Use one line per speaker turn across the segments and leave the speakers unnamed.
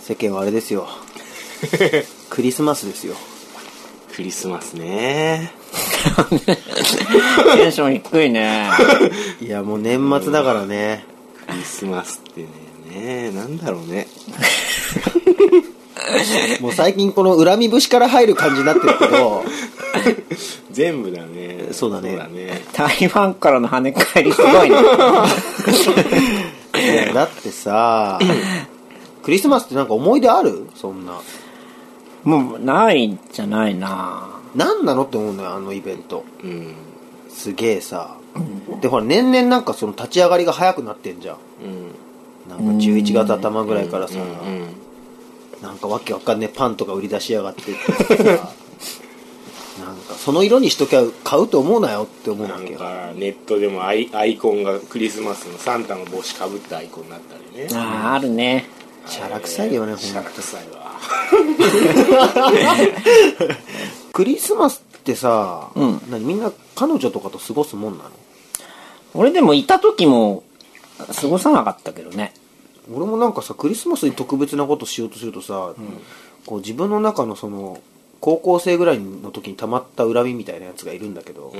世間はあれです よクリスマスですよ
クリスマスね
テンション低いね。
いやもう年末だからね、
クリスマスってねねなんだろうね
もう最近この恨み節から入る感じになってるけ ど
全部だね
そうだね
そうだね
台湾からの跳ね返りすごいね。
いやだってさ クリスマスってなんか思い出あるそんな
もう、ないんじゃないな
何なのって思うのよあのイベント
うん
すげえさ、でほら年々なんかその立ち上がりが早くなってんじゃん
うん
なんか11月頭ぐらいからさ、
うん
なんかわけわかんねえパンとか売り出しやがってって さなんかその色にしときゃ買うと思うなよって思う
な
わ
ん
けよ
かネットでもアイアイコンがクリスマスのサンタの帽子かぶったアイコンになったりね
ああ、あるね。
シャラ臭いよねほんと
シャラ臭いわ
クリスマスってさ、
うん
何みんな彼女とかと過ごすもんなの
俺でもいた時も、過ごさなかったけどね。
俺もなんかさクリスマスに特別なことしようとするとさ、こう自分の中のその高校生ぐらいの時にたまった恨みみたいなやつがいるんだけど、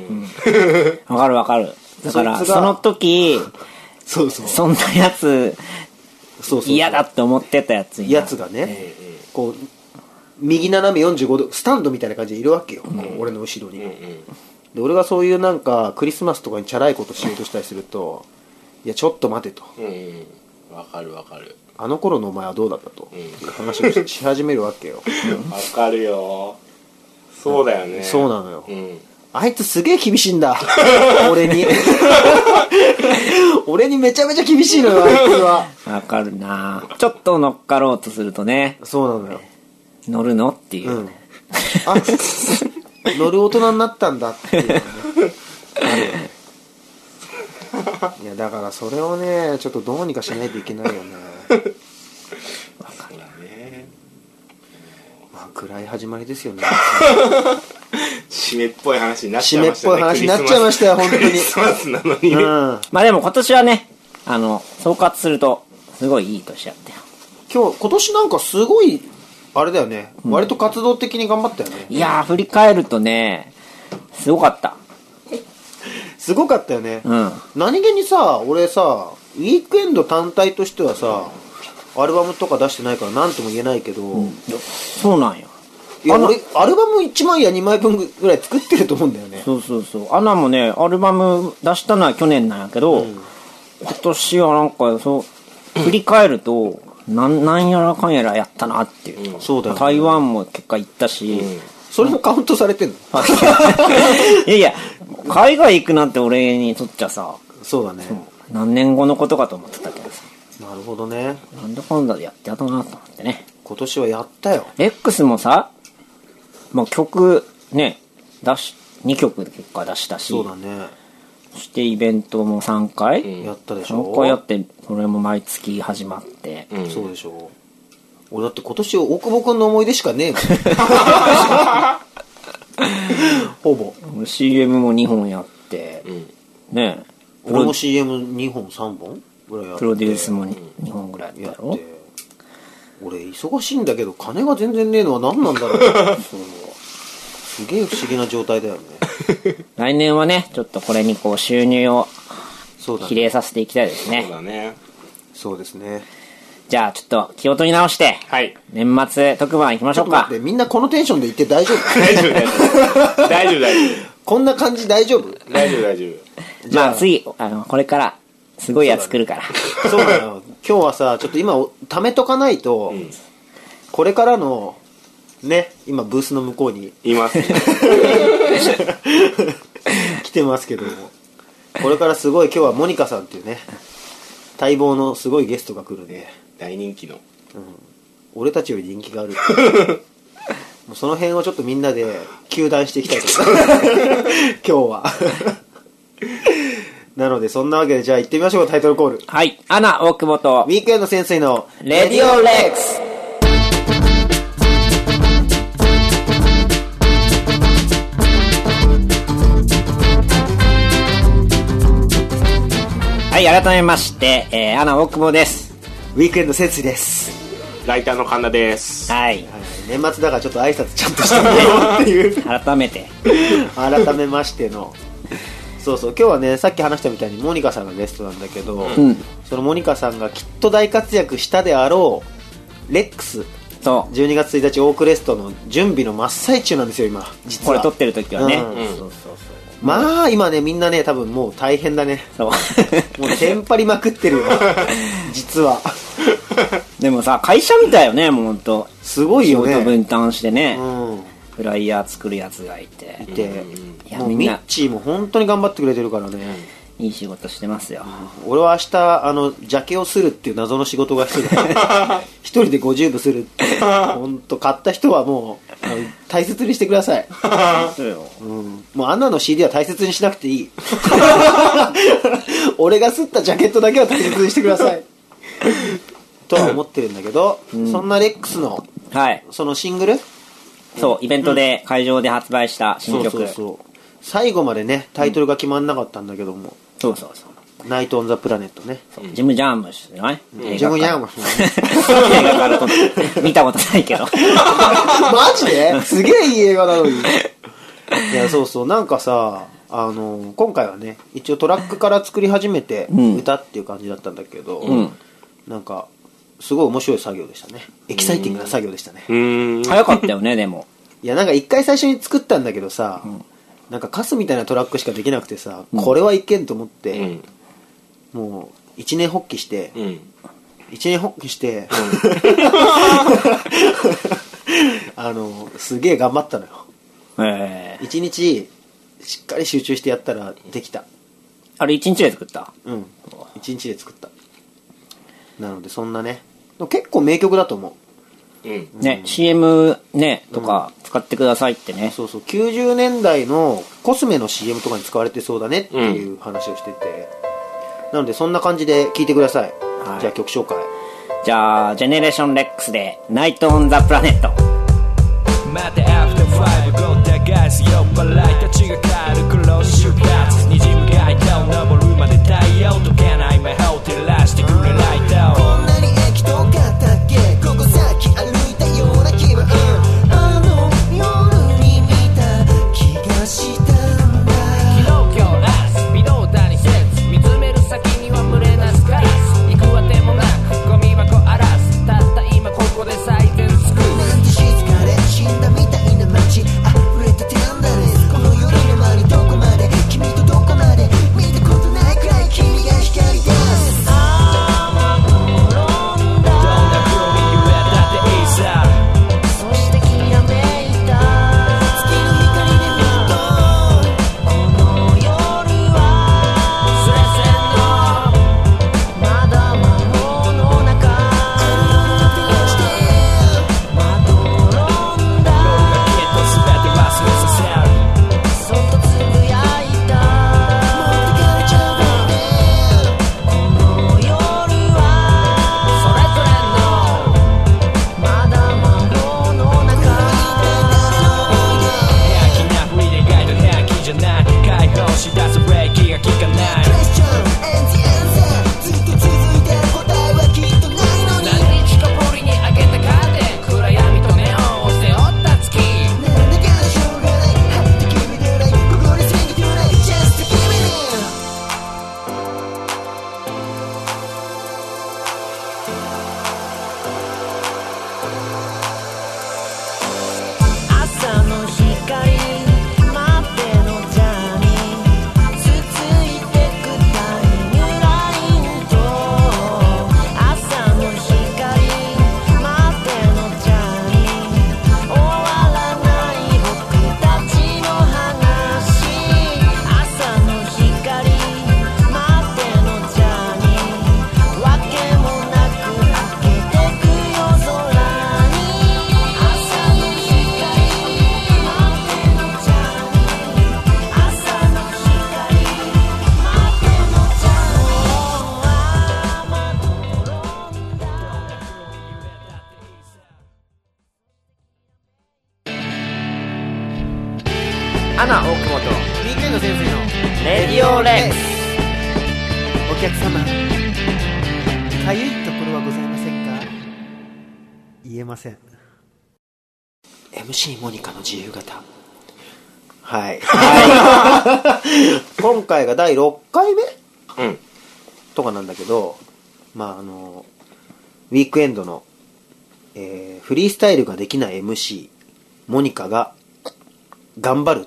わかるわかる。だから、
そいつが
その時、
そうそう
そんなやつ、
そうそう
嫌だって思ってたやつにな
やつがね、こう右斜め45度スタンドみたいな感じでいるわけよ、こう俺の後ろに、で俺がそういうなんかクリスマスとかにチャラいことしようとしたりするといやちょっと待てと
うんうんわかるわかる
あの頃のお前はどうだったと、
う
話をしし始めるわけよ
わかるよそうだよね
そうなのよ
うん
あいつすげえ厳しいんだ 俺に 俺にめちゃめちゃ厳しいのよあいつは
わかるなちょっと乗っかろうとするとね、
そうなのよ
乗るのっていうう、
んあ乗る大人になったんだっていうのねあるよねいやだからそれをねちょっとどうにかしないといけないよね
そうだね
まあ暗い始まりですよね
締めっぽい話になっち
締
ゃい
めっ
ましたね
ぽい話になっちゃいましたよ本当
クリ
に
スマスなのにね
うん
まあでも今年はね、あの、総括すると、すごいいい年だったよ。
今日今年なんかすごいあれだよね、割と活動的に頑張ったよね
いやー、振り返るとね、すごかった。
すごかったよね、
うん。
何気にさ俺さウィークエンド単体としてはさアルバムとか出してないから何とも言えないけど、
そうなんよ。
いや俺アルバム1枚や2枚分ぐらい作ってると思うんだよね
そうそうそう。アナもね、アルバム出したのは去年なんやけど、今年はなんか、そう、振り返ると、なん、なんやらかんやらやったなっていう。
そうだよね
台湾も結果行ったし、
それもカウントされてんの
いやいや、海外行くなんて俺にとっちゃさ、
そうだね
何年後のことかと思ってたけどさ、
なるほどね
なんだかんだでやってやったなと思ってね。
今年はやったよ
X もさ、まあ、曲ね、出し、2曲で結果出したし、
そうだね
そしてイベントも3回、
ん
やったでし
3回や
ょ
って、それも毎月始まって、
うん
そうでしょ俺だって今年大久保君の思い出しかねえもん ほぼ
CM も2本やって、ね、プ
俺
ロ
も CM2 本3本ぐらいやって
プロデュースも2本ぐらいや
や
っ
った
やろ
て俺忙しいんだけど金が全然ねえのは何なんだろうそうすげえ不思議な状態だよね
来年はね、ちょっとこれにこう収入を
そうだ
比
ね
例させていきたいですね
そう。だね
そうですね
じゃあちょっと気を取り直して、
はい
年末特番行きましょうか
で。みんなこのテンションで言って大丈夫
大丈夫大丈夫大丈夫大丈
こんな感じ大丈夫
夫大丈夫大丈
まあ次、あの、これから、すごいやつ来るから。
そうなの今日はさちょっと今お貯めとかないと、これからのね今ブースの向こうに
夫います
来てますけどもこれからすごい今日はモニカさんっていうね待望のすごいゲストが来るんで
大人気の
俺たちより人気 があるもうその辺をちょっとみんなで糾弾していき たいと思います今日はなのでそんなわけでじゃあ行ってみましょうタイトルコール
はい。アナ、大久保と
ウ、ィークエンド先生の
レディオレックスはい、改めまして、えー、アナ、大久保です。
ウィークエンド先生です
ライターの神田です
はい
はい年末だからちょっと挨拶ちゃんとしてみようっていう
改めて
改めましてのそうそう今日はねさっき話したみたいにモニカさんがゲストなんだけど、
うん
そのモニカさんがきっと大活躍したであろうレックス
そう
12月1日オークレストの準備の真っ最中なんですよ今実
こ
は
れ撮ってる時はね、
うん
そうそう
まあ今ねみんなね多分もう大変だね
そう
もうテンパりまくってるよ実は
でもさ会社みたいよねもうほんと
すごい
仕
よね
事分担してね、
うん
フライヤー作るやつがいて
で
いや
もう
みん
ミ
な
ッチーも本当に頑張ってくれてるからね
いい仕事してますよ、
俺は明日あのジャケをするっていう謎の仕事が 必要だ一人で50部するって本当買った人はもうあの大切にしてください、
そうよ
うん、もうあんなの CD は大切にしなくてい い俺がすったジャケットだけは大切にしてくださいとは思ってるんだけど、そんなレックスの
はい
そのシングル
そうイベントで会場で発売した新曲、
そうそうそう最後までねタイトルが決まんなかったんだけども
そうそうそ
「
う
ナイト・オン・ザ・プラネットね」
ジム・ジャームしない、映画
ジャム・ジャー
ム
ム
映画から撮って見たことないけ ど
マジですげえいい映画なのにいやそうそうなんかさあの今回はね一応トラックから作り始めて
ん
歌っていう感じだったんだけど、
ん
なんかすごい面白い作業でしたねエキサイティングな作業でしたね、
うーん
早かったよねでも
いやなんか一回最初に作ったんだけどさ、なんかカスみたいなトラックしかできなくてさ、これはいけんと思って、もう一年発起して、
うんうん
一年発起して、 あのすげえ頑張ったのよ
ええ
一日しっかり集中してやったらできた
あれ一日で作った
うん一日で作ったなのでそんなねでも結構名曲だと思
うん
ね、CM ねとか使ってくださいって
う
ね、
そうそう90年代のコスメの CM とかに使われてそうだねっていう話をしてて、なのでそんな感じで聴いてください、
い
じゃあ曲紹介
じゃあ「ジェネレーションレックスで「ナイト・オン・ザ・プラネット」
またアフターファイブごった返す酔っ払いたちが軽くロス出発にじむ街灯登るまで太陽溶けない魔法照らしてくれライト
こんなに駅遠かったっけここさっき歩いたような気分あの夜に見た気がしたんだ
昨日今日明日微動だにせず見つめる先には群れなすカラス行くあてもなくゴミ箱荒らすたった今ここで最善尽くす
なんて静かで死んだみたいな街溢れてたんだねこの夜の間にどこまで君とどこまで見たことないくらい君が光り出す
どんな風に揺れたっていいさ
そしてきらめいた月の光で見たこの夜はせのまだ魔法の中
夜がきっと全て忘れさ
まどろんだ
せる
そっとつぶやいた持ってかれちゃうのねこの夜はそれぞれのまだ魔法の中
平気なフリーで意外と平気じゃない解放し出すブレーキが効かない
クエスチョンエンジンエンサーずっと続いてる答えはきっとないのに
何日かぶりに開けたカーテン暗闇とネオンを背負った月
なんだかしょうがない入って決めてないここについてくれない Just give me it「朝の光までのジャーニー」「続いてくタイムラインと」「朝の光までのジャーニー」「終わらない僕たちの話」「朝の光までのジャーニー」「わけもなく開けてくよ空に」「朝の光待ってのジャーニー」「朝の光待ってのジャーニー」「雨どろんだ」
アナ大久保と
BK の先生の
レディオレックス
お客様かゆいところはございませんか
言えません
MC モニカの自由形はい、 今回が第6回目
うん
とかなんだけどまああのウィークエンドの、えーフリースタイルができない MC モニカが頑 張るっ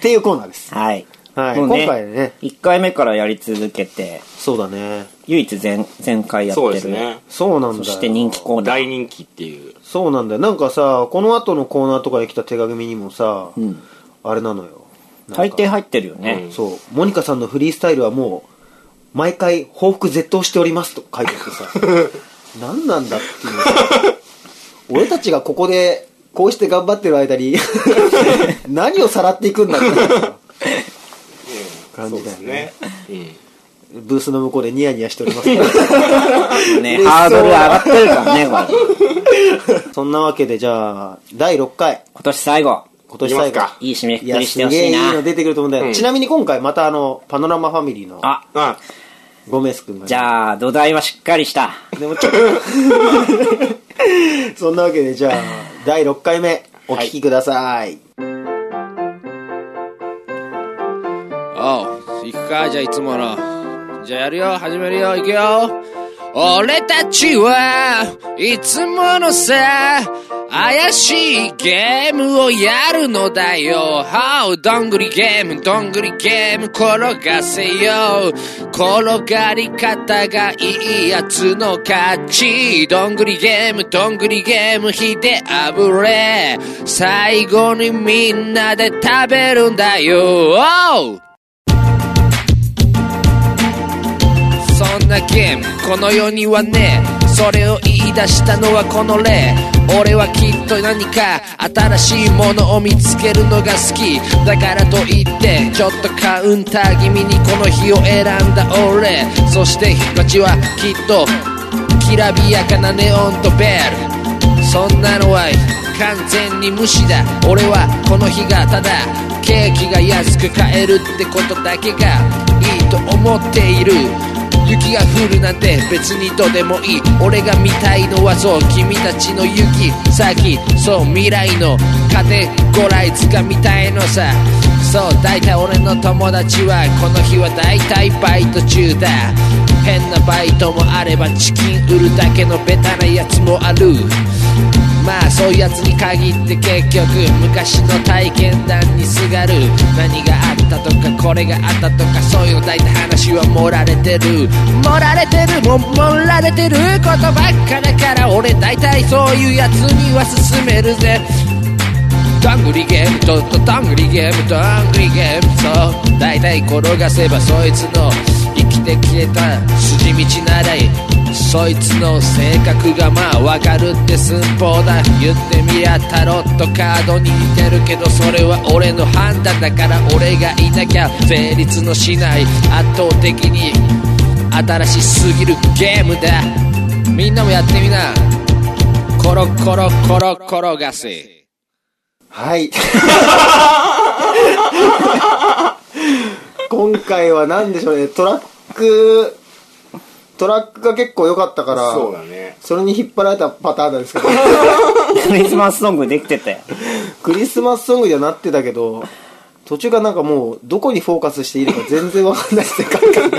ていうコーナーです
はい。
はい
もう
今回ね
1回目からやり続けて、
そうだね
唯一前前回やってる。
そうですね
そうなんだよ
そして人気コーナー。
大人気っていう
そうなんだよなんかさこの後のコーナーとかに来た手紙にもさ、
うん
あれなのよなんか
大抵入ってるよね。
そうモニカさんのフリースタイルはもう毎回報復絶倒しておりますと書いてあってさ 何なんだっていう俺たちがここでこうして頑張ってる間 に何をさらっていくんだって感
そう
じ
で
だよ
す
ね
ねうん
ブースの向こうでニヤニヤしておりますけ ど
ね、
嬉しそう
ハードル上がってるからね、これ。
そんなわけでじゃあ第6回
今年最後。
今年最後
いきますか
いい締めく
い
く
や
りし
す
てほ
げ
し
え
い
いい
な
の。出てくると思うんだよ、
うん
ちなみに今回またあのパノラマファミリーの
あ、
あ
ゴメス君が
じゃあ、土台はしっかりした。
でもちょっと そんなわけでじゃあ第6回目お聞きください、
おう、行くか、じゃあいつもの。じゃあやるよ、始めるよ、行くよ。俺たちはいつものさ、怪しいゲームをやるのだよ。はお、どんぐりゲーム、どんぐりゲーム転がせよ。転がり方がいいやつの勝ち。どんぐりゲーム、どんぐりゲーム、ひであぶれ。最後にみんなで食べるんだよ。おうそんなゲームこの世にはねそれを言い出したのはこの例俺はきっと何か新しいものを見つけるのが好きだからといってちょっとカウンター気味にこの日を選んだ俺そして引っちはきっときらびやかなネオンとベールそんなのは完全に無視だ俺はこの日がただケーキが安く買えるってことだけがいいと思っている雪が降るなんて別にどうでもいい俺が見たいのはそう君たちの雪先そう未来のカテゴライズが見たいのさそう大体俺の友達はこの日は大体バイト中だ変なバイトもあればチキン売るだけのベタなやつもあるまあそういうやつに限って結局昔の体験談にすがる何があったとかこれがあったとかそういう大体話は盛られてる盛られてるも盛られてることばっかだから俺大体そういうやつには勧めるぜどんぐりゲームちょっとどんぐりゲームどんぐりゲームそう大体転がせばそいつの生きてきてた筋道ならいそいつの性格がまあわかるって寸法だ言ってみりゃタロットカードに似てるけどそれは俺の判断だから俺がいなきゃ成立のしない圧倒的に新しすぎるゲームだみんなもやってみなコロコロコロ転がせ
はい 今回は何でしょうねトラックトラックが結構良かったから
そうだね
それに引っ張られたパターンなんですけ ど
クリスマスソングできてて。
クリスマスソングにはなってたけど途中がなんかもうどこにフォーカスしていいのか全然わかんない世界観が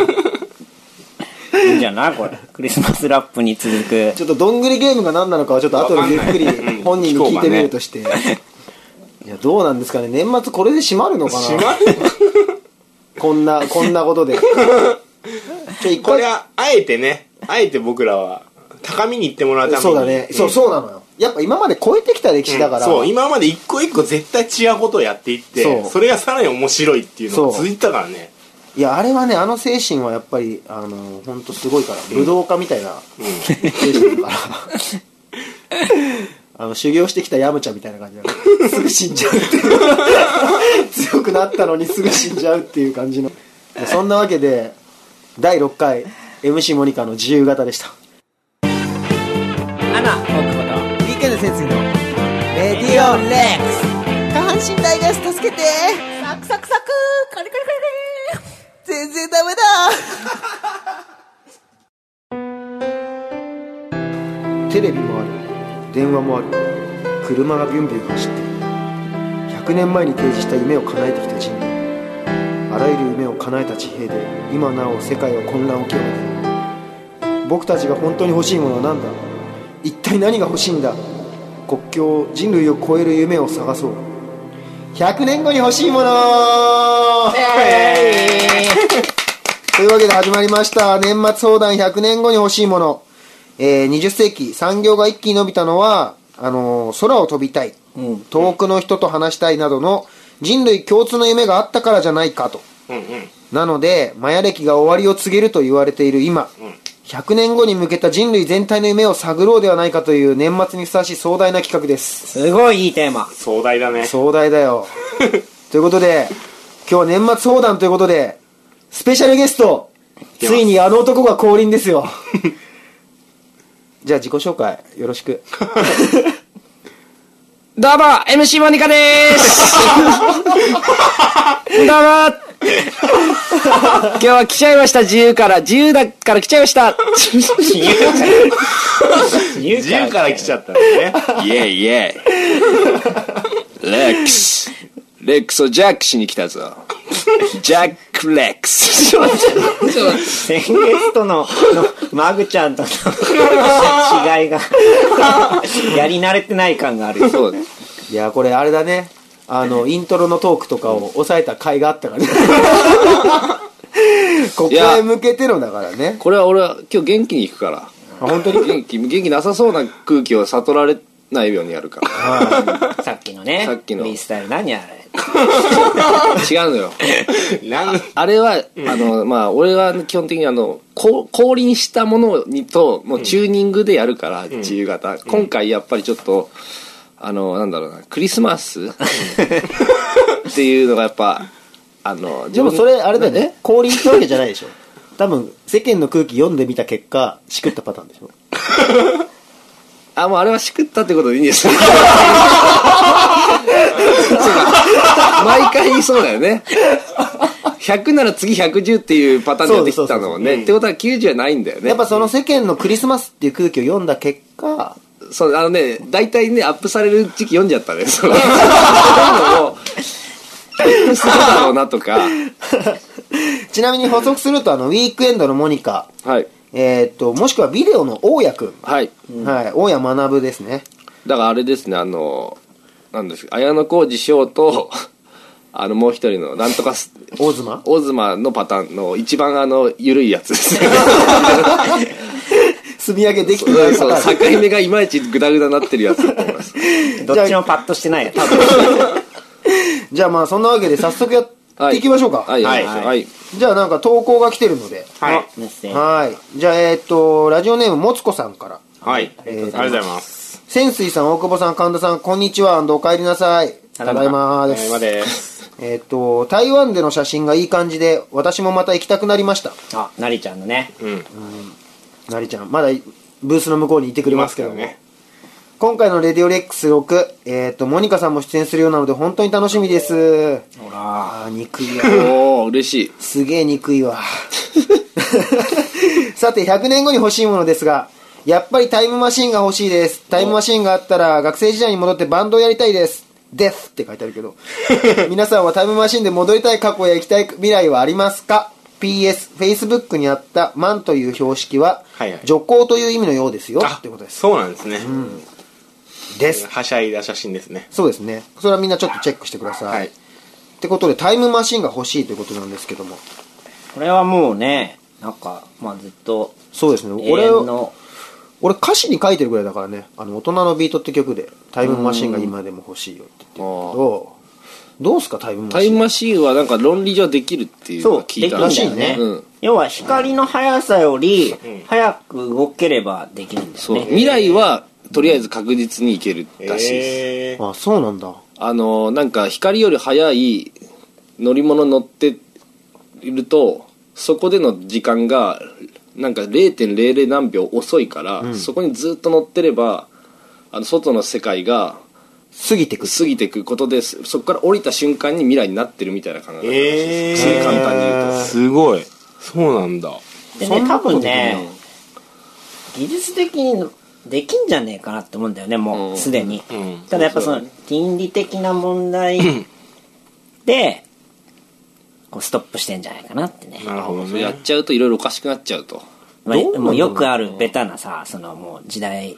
いいんじゃないこれ。クリスマスラップに続く。
ちょっとどんぐりゲームが何なのかはちょっと後でゆっくり
わかんないうん
本人に聞いてみるとして、いやどうなんですかね年末これで締まるのかな
閉まる
こんなこんなこと でちょ一
こ
回
れはあえてねあえて僕らは高みに行ってもらうために
そうだね、そうそうなのよやっぱ今まで超えてきた歴史だから、
そう今まで一個一個絶対違うことをやっていって
そう
それがさらに面白いっていうのが
そう
続いてたからね
いやあれはねあの精神はやっぱりあの本当すごいから武道家みたいな精神だからあの修行してきたヤムチャみたいな感じだからすぐ死んじゃうっていう強くなったのにすぐ死んじゃうっていう感じのそんなわけで第6回 MC モニカの自由形でした
アナ、僕
ウィーケンド潜水のレディオレックス下半身大ガス助けて
サクサクサクカリカリカリカリ
全然ダメだ
とテレビもある電話もある車がビュンビュン走ってる100年前に提示した夢を叶えてきた人類あらゆる夢を叶えた地平で今なお世界は混乱を極めている僕たちが本当に欲しいものは何だ一体何が欲しいんだ国境を人類を超える夢を探そう100年後に欲しいものというわけで始まりました年末相談100年後に欲しいもの、えー20世紀産業が一気に伸びたのはあのー空を飛びたい、遠くの人と話したいなどの人類共通の夢があったからじゃないかと
うんうん
なのでマヤ歴が終わりを告げると言われている今、100年後に向けた人類全体の夢を探ろうではないかという年末にふさわしい壮大な企画です
すごいいいテーマ。
壮大だね
壮大だ よということで今日は年末相談ということでスペシャルゲスト
出ます
ついにあの男が降臨です よじゃあ自己紹介よろしく
どうも、MC モニカでーすどうも今日は来ちゃいました、自由から。自由だから来ちゃいました
自由
自由から来ちゃったんだね
イェイイェイ。レックス。レックスをジャックしに来たぞ。ジャックレックス。
先月との、のマグちゃんとの 違いが、やり慣れてない感がある。
そうだ
いやこれあれだねあ のイントロのトークとかを抑えた甲斐があったからねここへ向けてのだからね
これは俺は今日元気に行くから。
あ本当に
元気、元気なさそうな空気を悟られないようにやるから。
さっきのね、
さっきの
フリースタイル何あれ。
違うのよ。
なん
あれは、あの、まあ、俺は基本的にあの、こう降臨したものにと、もうチューニングでやるから、自由形。今回やっぱりちょっと、あの、なんだろうな、クリスマス っていうのがやっぱ、あの、
でもそれあれだよね降臨ってわけじゃないでしょ多分世間の空気読んでみた結果しくったパターンでしょ
あ、もうあれはしくったってことでいいんですよ。 そうか毎回そうだよね。100なら次110っていうパターンで出てきた
そうそうそう
のも
そう
ね。ってことは90はないんだよね。
やっぱその世間のクリスマスっていう空気を読んだ結果、
そう、あのね、大体ね、アップされる時期読んじゃったね。そう そういうのを、 そうだろうなとか。
ちなみに補足すると、あの、ウィークエンドのモニカ、
はい。
えーっと、もしくはビデオの大谷くん。
はい。
はい、大谷学ですね。
だからあれですね、あの、なんですか、綾小路翔と、 あの、もう一人の、なんとかす、
大妻。
オズマのパターンの一番あの緩いやつ ですね
積み上げできてな
そう
いパ
そう
ターン。
境目がいまいちグダグダになってるやつだと思います
どっちもパッとしてないよ、多分。
じゃあまあ、そんなわけで早速やっていきましょうか。
はいはい
は
はいい、
じゃあなんか投稿が来てるので。
はい
メッセージ
はい。じゃあ、えーっと、ラジオネームもつこさんから。
はいあり
え
が
ー
とうございます
潜水さん、大久保さん、神田さん、こんにちは、お帰りなさい。た
だいま
だいまで
ただい
す
ま。です
えーっと、台湾での写真がいい感じで、私もまた行きたくなりました。
あ、なりちゃんのね。
なりちゃんまだブースの向こうにいてくれますけど
い
も
ますけどね
今回の「レディオレックス6」えっ、とモニカさんも出演するようなので本当に楽しみです
ほら。
あー憎いわ
おお嬉しい
すげえ憎いわ さて100年後に欲しいものですがやっぱりタイムマシーンが欲しいですタイムマシーンがあったら学生時代に戻ってバンドをやりたいですですって書いてあるけ ど皆さんはタイムマシーンで戻りたい過去や行きたい未来はありますか ?PSFacebook にあった「マン」という標識は、
はいはい
女行という意味のようですよってことです
そうなんですね
です
はしゃいだ写真ですね
そうですねそれはみんなちょっとチェックしてください、
はい
ってことでタイムマシーンが欲しいということなんですけども
これはもうね、なんか、まあずっと、
そうですね
永
俺
遠の、
俺歌詞に書いてるぐらいだからね「あの大人のビート」って曲で「タイムマシンが今でも欲しいよ」って言ってるけどどうすかタイムマ
タ
シ
イ
ン
ムマシーンはなんか論理上できるっていうの
そ
を
う、
聞い
できる
た
んだ
らし
よ
い
ね。
うん
要は光の速さより、早く動ければできるんだよ
そう
ね。
未来はとりあえず確実にいけるらしいで
え
す、
あそうなんだ
あのなんか光より速い乗り物乗っているとそこでの時間がなんか0.00何秒遅いから、そこにずっと乗ってればあの外の世界が
過ぎてく
過ぎていくことですそこから降りた瞬間に未来になってるみたいな考え方
え
です
え
簡単に言うと
すごいそうなんだ
でね、多分ね、技術的にできんじゃねえかなって思うんだよねも
うん
うすでに、
うん
ただやっぱその
そう
倫理的な問題でこうストップしてんじゃないかなってね、
なるほど
そうやっ
ね
ちゃうといろいろおかしくなっちゃうと
まあ、
どうなんだろう
もうよくあるベタなさそのもう時代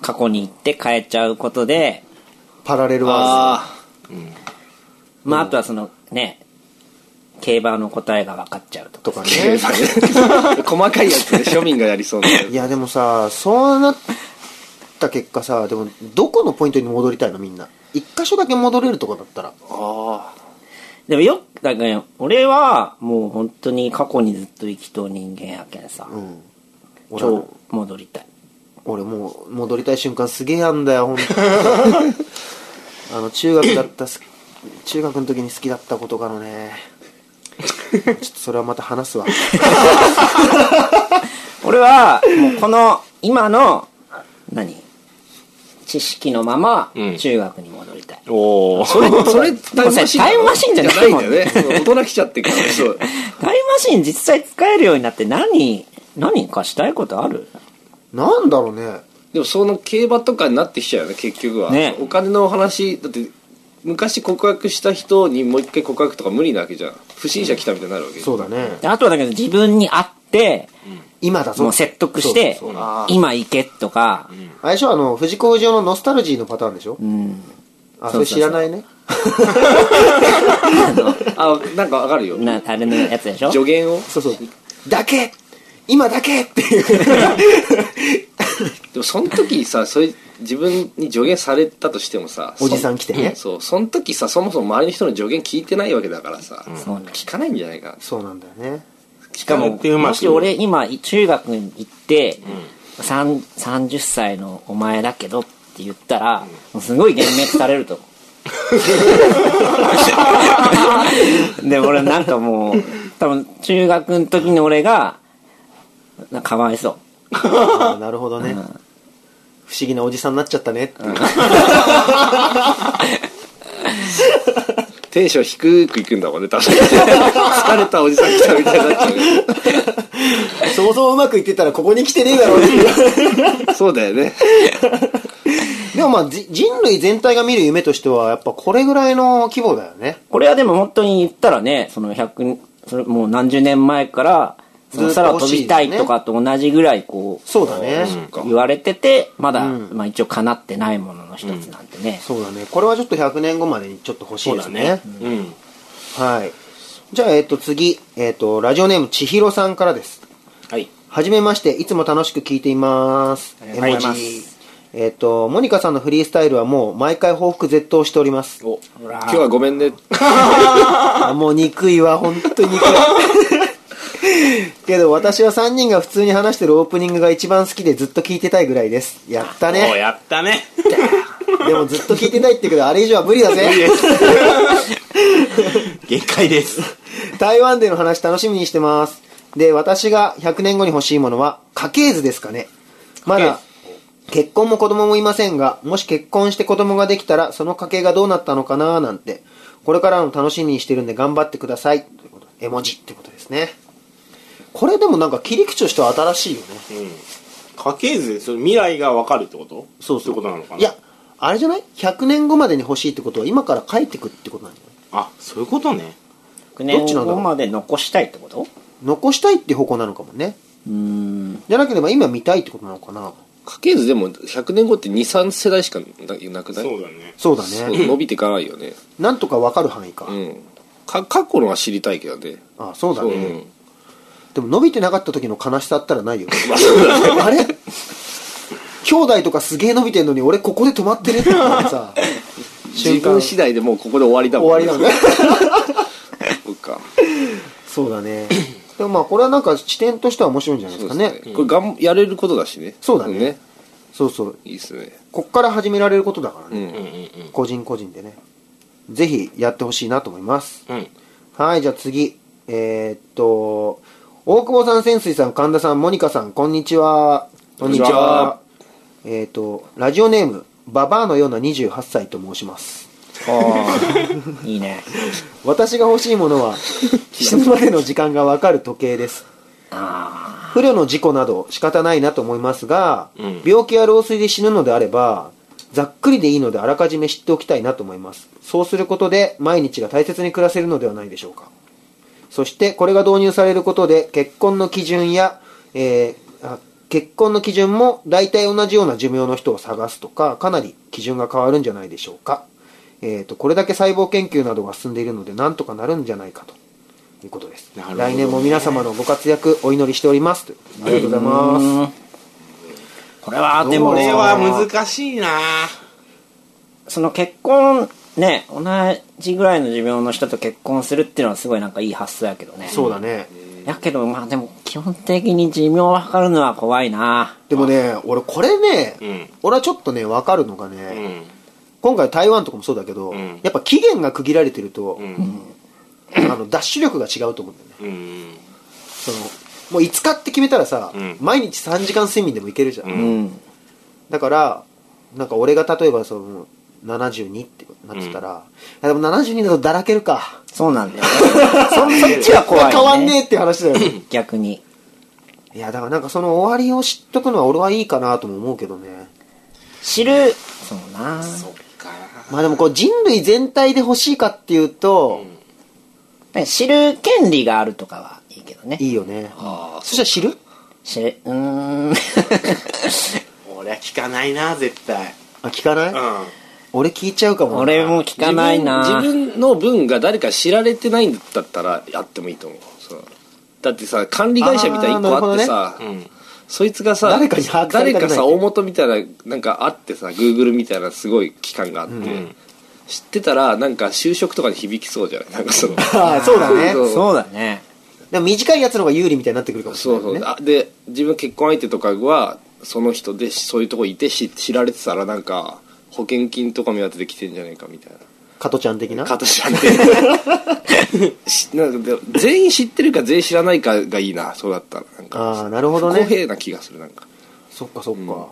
過去に行って変えちゃうことで
パラレルワー
あ
まああとはそのね競馬の答えが分かっちゃう
ル
とか
ドとかね
あ細かいやつで庶民がや りそうない
やでもさそうなった結果さでもどこのポイントに戻りたいのみんな一箇所だけ戻れるとこだったら
でもよくだからね俺はもう本当に過去にずっと生きとう人間やけんさ、
うん俺は
超戻りたい
俺もう戻りたい瞬間すげえあんだよ本当 にあの中学だったす中学の時に好きだったことがのねちょっとそれはまた話すわ
俺はもうこの今の何知識のまま
うん
中学に戻りたい、
おお
それそれタイムマシン
タイムマシンじゃない
んだよねそう大人来ちゃってるからねそう
タイムマシン実際使えるようになって何何かしたいことある
なんだろうね
でもその競馬とかになってきちゃうよね結局は、
ね
お金のお話だって昔告白した人にもう一回告白とか無理なわけじゃん不審者来たみたいになるわけ、
そうだね
であとはだけど自分に合って
今だぞ
もう説得して
そうそうそう
今行けとか、
あれでしょあの藤子不二雄のノスタルジーのパターンでしょ、
うん、
あそれ知らないね
あなんかわかるよ
なあれのやつでしょ
助言を
そうそうだけ今だけっていう
でもその時さそれ自分に助言されたとしてもさ
おじさん来てね
そそうその時さそもそも周りの人の助言聞いてないわけだからさ、
そうなん
聞かないんじゃないかな
そうなんだよね
し
しか
や
も
ってうまく
もし俺今中学に行って、さん30歳のお前だけどって言ったら、もうすごい幻滅されると思うで俺なんかもう多分中学の時の俺がなかわいそ
あーなるほどね、
ん
不思議なおじさんになっちゃったねっていう、
テンション低くいくんだもんね 確かに疲れたおじさん来たみたいになっちゃうよね
そもそもうまくいってたらここに来てねえだろう っていう
そうだよね
でもまあじ人類全体が見る夢としてはやっぱこれぐらいの規模だよね
うこれはでも本当に言ったらねその100それもう何十年前からその空を飛びたいとかと同じぐらいこう
そうだね、
言われててまだ、
うん
まあ、一応叶ってないものの一つなんてね、
そうだねこれはちょっと100年後までにちょっと欲しいですね
うん
はいじゃあ、えっと次、えっとラジオネーム千尋さんからです
はい
はじめまして、いつも楽しく聞いています。
りがとうございます
絵文字えっ、と、モニカさんのフリースタイルはもう毎回報復絶倒しております。
お今日はごめんね
あもう憎いわ、本当 に憎い。けど私は3人が普通に話してるオープニングが一番好きでずっと聞いてたいぐらいです。やった
お
ね。
やったね
でもずっと聞いてないって言うけど、あれ以上は無理だぜ。
限界です
台湾での話楽しみにしてます。で、私が100年後に欲しいものは、家系図ですかね。まだ、結婚も子供もいませんが、もし結婚して子供ができたら、その家系がどうなったのかなーなんて、これからも楽しみにしてるんで頑張ってください。ということ絵文字ってことですね。これでもなんか切り口としては新しいよね。
家系図でそれ未来が分かるってこと
そうそう。
ってことなのかない
や、あれじゃない ?100 年後までに欲しいってことは、今から書いてくってことなんじゃない
あそういうことね
100
どっち
年
なんだ
後
ろう
まで残したいってこと
残したいって方向なのかもね。
うーん
じゃなければ今見たいってことなのかな。
家系図でも100年後って23世代しかなくない
そうだね
そうだね。
そう伸びていかないよね
なんとかわかる範囲か。
うんか過去のは知りたいけどね
あそうだね。
うん
でも伸びてなかった時の悲しさあったらない よ。あれ兄弟とかすげえ伸びてんのに俺ここで止まってるっていう さ、
自分次第でもうここで終わりだ
終
も
わ
ん
りなんだ。
そっか
そうだ ね。でもまあこれはなんか視点としては面白いんじゃないですかね。そう
これがんやれることだしね
そうだねそう
いいっすね
こっから始められることだから
う
ね。
ん
個人個人でね。ぜひやってほしいなと思います。
うん
はい、じゃあ次。えーっと、大久保さん、潜水さん、神田さん、モニカさん、こんにちは。こ
んにちは。
えーっと、ラジオネーム、ババアのような28歳と申します。
ああいいね
私が欲しいものは、死ぬまでの時間がわかる時計です。不慮の事故など仕方ないなと思いますが、
うん
病気や老衰で死ぬのであれば、ざっくりでいいのであらかじめ知っておきたいなと思います。そうすることで毎日が大切に暮らせるのではないでしょうか。そしてこれが導入されることで結婚の基準や、えーあ結婚の基準も大体同じような寿命の人を探すとか、かなり基準が変わるんじゃないでしょうか。えっ、と、これだけ細胞研究などが進んでいるので、なんとかなるんじゃないかということです。
なるほどね
来年も皆様のご活躍、お祈りしております。 ということでありがとうございます。
これはで
こ
も
れは難しいな
その結婚ね同じぐらいの寿命の人と結婚するっていうのはすごいなんかいい発想やけどね
そうだね。
やけどまあでも基本的に寿命を測るのは怖いな
でもね、俺これね、
うん
俺はちょっとね、わかるのがね、
うん
今回台湾とかもそうだけど、
ん
やっぱ期限が区切られてると、
うん
あの、ダッシュ力が違うと思うんだよね。
うん
その、もう5日って決めたらさ、
うん
毎日3時間睡眠でもいけるじゃん。
う
うんん
だから、なんか俺が例えばその、72ってなってたら、あでも72だとだらけるか。
そうな んだよそそっちは怖い、ね、
変わんねえって話だよね。
逆に
いや、だからなんかその終わりを知っとくのは俺はいいかなとも思うけどね。
知るそうな
そっか
まあでもこう人類全体で欲しいかっていうと、
知る権利があるとかはいいけどね
いいよね。そしたら知る
知るうーん
俺は聞かないな絶対
あ、聞かない、
うん
俺聞いちゃうかもな。
俺も聞かないな
自分自分の分が誰か知られてないんだったらやってもいいと思うそうだってさ管理会社みたいな一個あってさ、
うん
そいつがさ
誰かに把握されたくない
誰かさ大元みたいななんかあってさ Google みたいなすごい機関があって、知ってたらなんか就職とかに響きそうじゃないなんかその
ああ、そうだね。
そう
そうだね
でも短いやつの方が有利みたいになってくるかもしれ
そう
ない、ね。
そうあで自分結婚相手とかはその人でそういうとこいてし知られてたらなんか保険金とか目当てで来てんじゃないかみたいな
加トちゃん的な。
形なんでし なんかで全員知ってるか全員知らないかがいいなそうだったらなんか
ああ、なるほど
不公
ね。
平な気がするなんか
そっかそっか。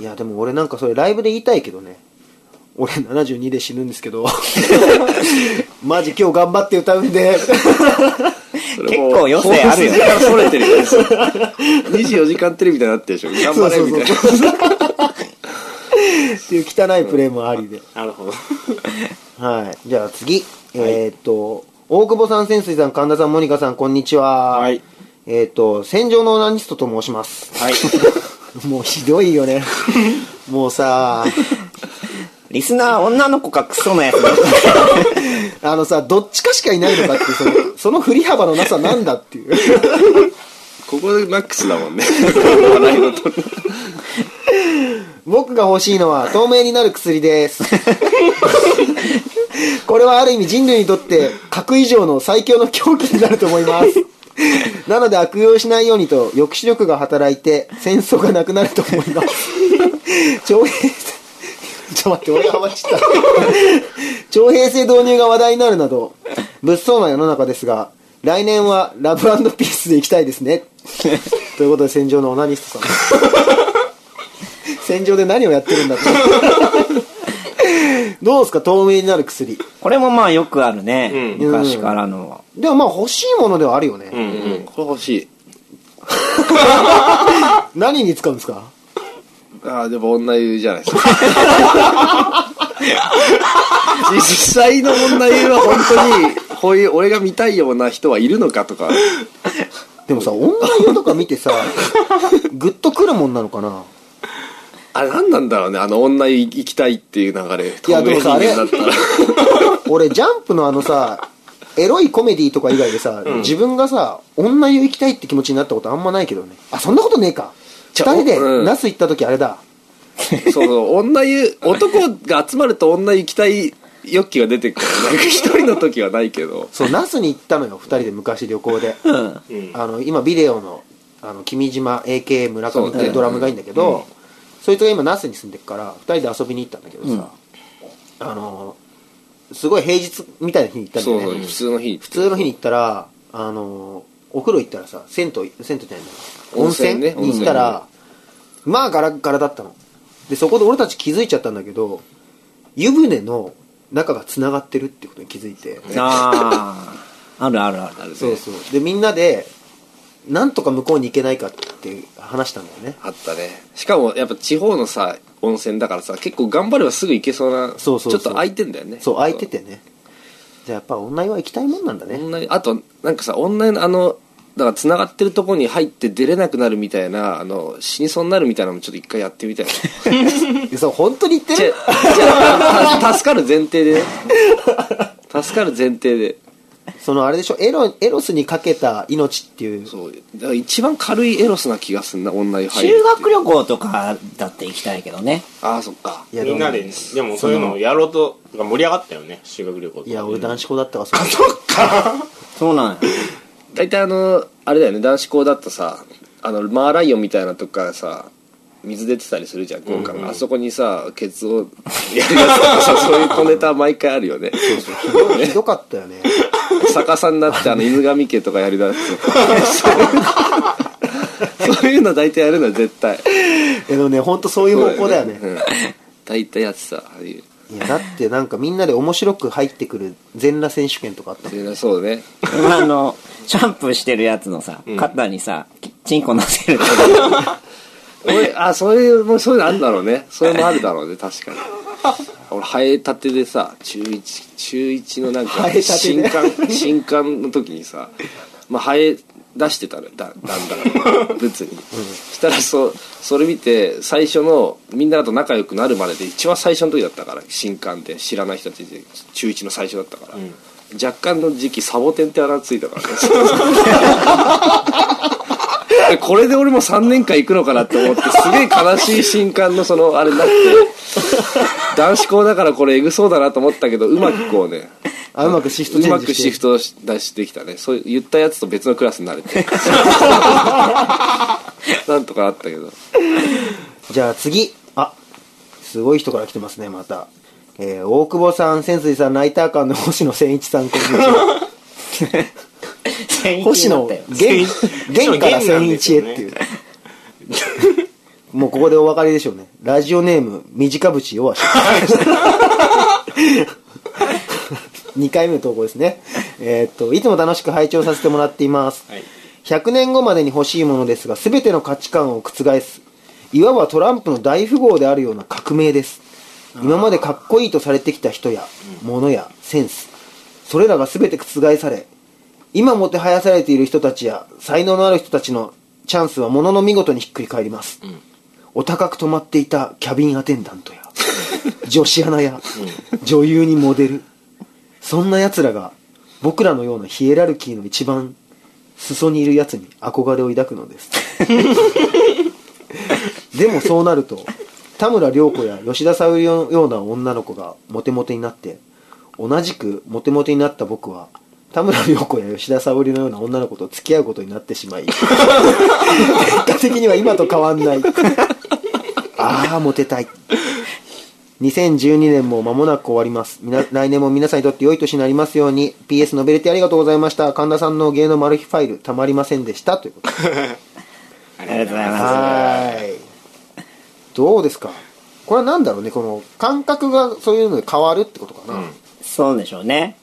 いや、でも俺なんかそれライブで言いたいけどね。俺72で死ぬんですけど。マジ今日頑張って歌うんで。
結
結構余生あるよね
からそれてるよね 24時間テレビみたいになってるでしょ頑張れみたいな
そうそうそうっていう汚いプレーもありで。
なるほど
はい。じゃあ次。えーっと、大久保さん、潜水さん、神田さん、モニカさん、こんにちは。
はい。
えーっと、戦場のオナニストと申します。
はい
もうひどいよね。もうさ、
リスナー女の子かクソのや つ
あのさ、どっちかしかいないのかっていう、その、その振り幅のなさなんだっていう。
ここでマックスだもんね笑いのと
僕が欲しいのは透明になる薬です。 これはある意味人類にとって核以上の最強の狂気になると思います。なので悪用しないようにと抑止力が働いて戦争がなくなると思い ます。徴兵制、ちょっと待って、俺がハマっちゃった。徴兵制導入が話題になるなど、物騒な世の中ですが、来年はラブピースで行きたいですね。ということで戦場のオナニストさん。戦場で何をやってるん だってどうですか透明になる薬
これもまあよくあるね、
うん
昔からの
でもまあ欲しいものではあるよね、
うんこれ欲しい
何に使うんですか
ああでも女湯じゃないですか 実際の女湯は本当にこういう俺が見たいような人はいるのかとか
でもさ女湯とか見て さグッとくるもんなのかな
あれ何なんだろうねあの女湯行きたいっていう流れ
いやでもさ
透明人間だったら
俺ジャンプのあのさエロいコメディとか以外でさ、自分がさ女湯行きたいって気持ちになったことあんまないけどねあそんなことねえか
ち
二
ょ
人で
うん
ナス行った時あれだ、
そうそう女湯男が集まると女湯行きたい欲求が出 てくるなんか一人の時はないけど
そうナスに行ったのよ二人で昔旅行で、あの今ビデオのあの君島 AKA 村上っていうドラムがいいんだけどそ,、いつが今那須に住んでるから二人で遊びに行ったんだけどさ、あのすごい平日みたいな日に行ったんだ
そ
よ
う
ね
そう普通の日
普通の日に行ったらあのお風呂行ったらさ銭湯銭湯じゃないんだ温
温
泉
泉ね
に行ったら、まあガラガラだったのでそこで俺たち気づいちゃったんだけど湯船の中がつながってるってことに気づいて、
あああるあるある
そうそうでみんなでなんとか向こうに行けないかって話したんだよね
あったねしかもやっぱ地方のさ温泉だからさ結構頑張ればすぐ行けそうな
そうそうそう
ちょっと空いてんだよね
そう空いててねじゃあやっぱ女湯は行きたいもんなんだね
女湯あとなんかさ女湯のあのだから繋がってるとこに入って出れなくなるみたいなあの死にそうになるみたいなのもちょっと一回やってみたいな
そう本当に行って
違う違
る
うた助かる前提でね助かる前提で
そのあれでしょエロエロスにかけた命っていう
そうだから一番軽いエロスな気がすんな女湯入るってい
修
う
学旅行とかだって行きたいけどね。
ああそっか
いや
みんな
も
ででもそういうのをやろうとなんか盛り上がったよね修学旅行とか
いや俺男子校だったわそれ
そうなんや。
大体あのあれだよね男子校だとさあのマーライオンみたいなとこからさ水出てたりするじゃん今回、あそこにさケツをやるやつとか さそういう小ネタ毎回あるよね
ひどかったよね
逆さになってあの犬神家とかやりだすと かそうそういうの大体やるのは絶対
けどね本当そういう方向だよね
うん大体やってさああいう
いやだってなんかみんなで面白く入ってくる全裸選手権とかあったもん
偉そうね
あの、シャンプーしてるやつのさ、肩にさ、チンコ乗せるけど。
俺あそういうもうそういうのあるんだろうねそれもあるだろうね確か に俺生えたてでさ中1中1のなんか
生えたて
新
で
刊新刊の時にさ、まあ、生え出してたのよだだんだん物に、したらそそれ見て最初のみんなと仲良くなるまでで一番最初の時だったから新刊って知らない人たちで中1の最初だったから、若干の時期サボテンってあだ名ついたからねでこれで俺も3年間行くのかなって思ってすげえ悲しい新刊のそのあれになって男子校だからこれエグそうだなと思ったけどうまくこうね
あうまくシフト
う
チェ
ま
ンジ
く
して
シフトを出してきたねそう言ったやつと別のクラスになれてなんとかあったけど
じゃあ次あすごい人から来てますねまた、えー大久保さん潜水さんナイター館の星野千一さんこんにちは星野源源から千一へっていうもうここでお分かりでしょうねラジオネーム短渕弱し2回目の投稿ですねえーっといつも楽しく拝聴させてもらっています、
はい
100年後までに欲しいものですが全ての価値観を覆すいわばトランプの大富豪であるような革命です今までかっこいいとされてきた人や物やセンスそれらが全て覆され今もてはやされている人たちや才能のある人たちのチャンスはものの見事にひっくり返ります、お高く泊まっていたキャビンアテンダン トや女子アナや女優にモデルそんな奴らが僕らのようなヒエラルキーの一番裾にいる奴に憧れを抱くのです でもそうなると田村良子や吉田沙保里のような女の子がモテモテになって同じくモテモテになった僕は田村良子や吉田沙保里のような女の子と付き合うことになってしまい結果的には今と変わんない ああモテたい2012年も間もなく終わります。みな来年も皆さんにとって良い年になりますように、PS ノベルティありがとうございました。神田さんの芸能マル秘ファイル、たまりませんでした。ということで。
ありがとうございま
はーい。どうですかこれは何だろうね、この感覚がそういうので変わるってことかな。
す。そうでしょうね。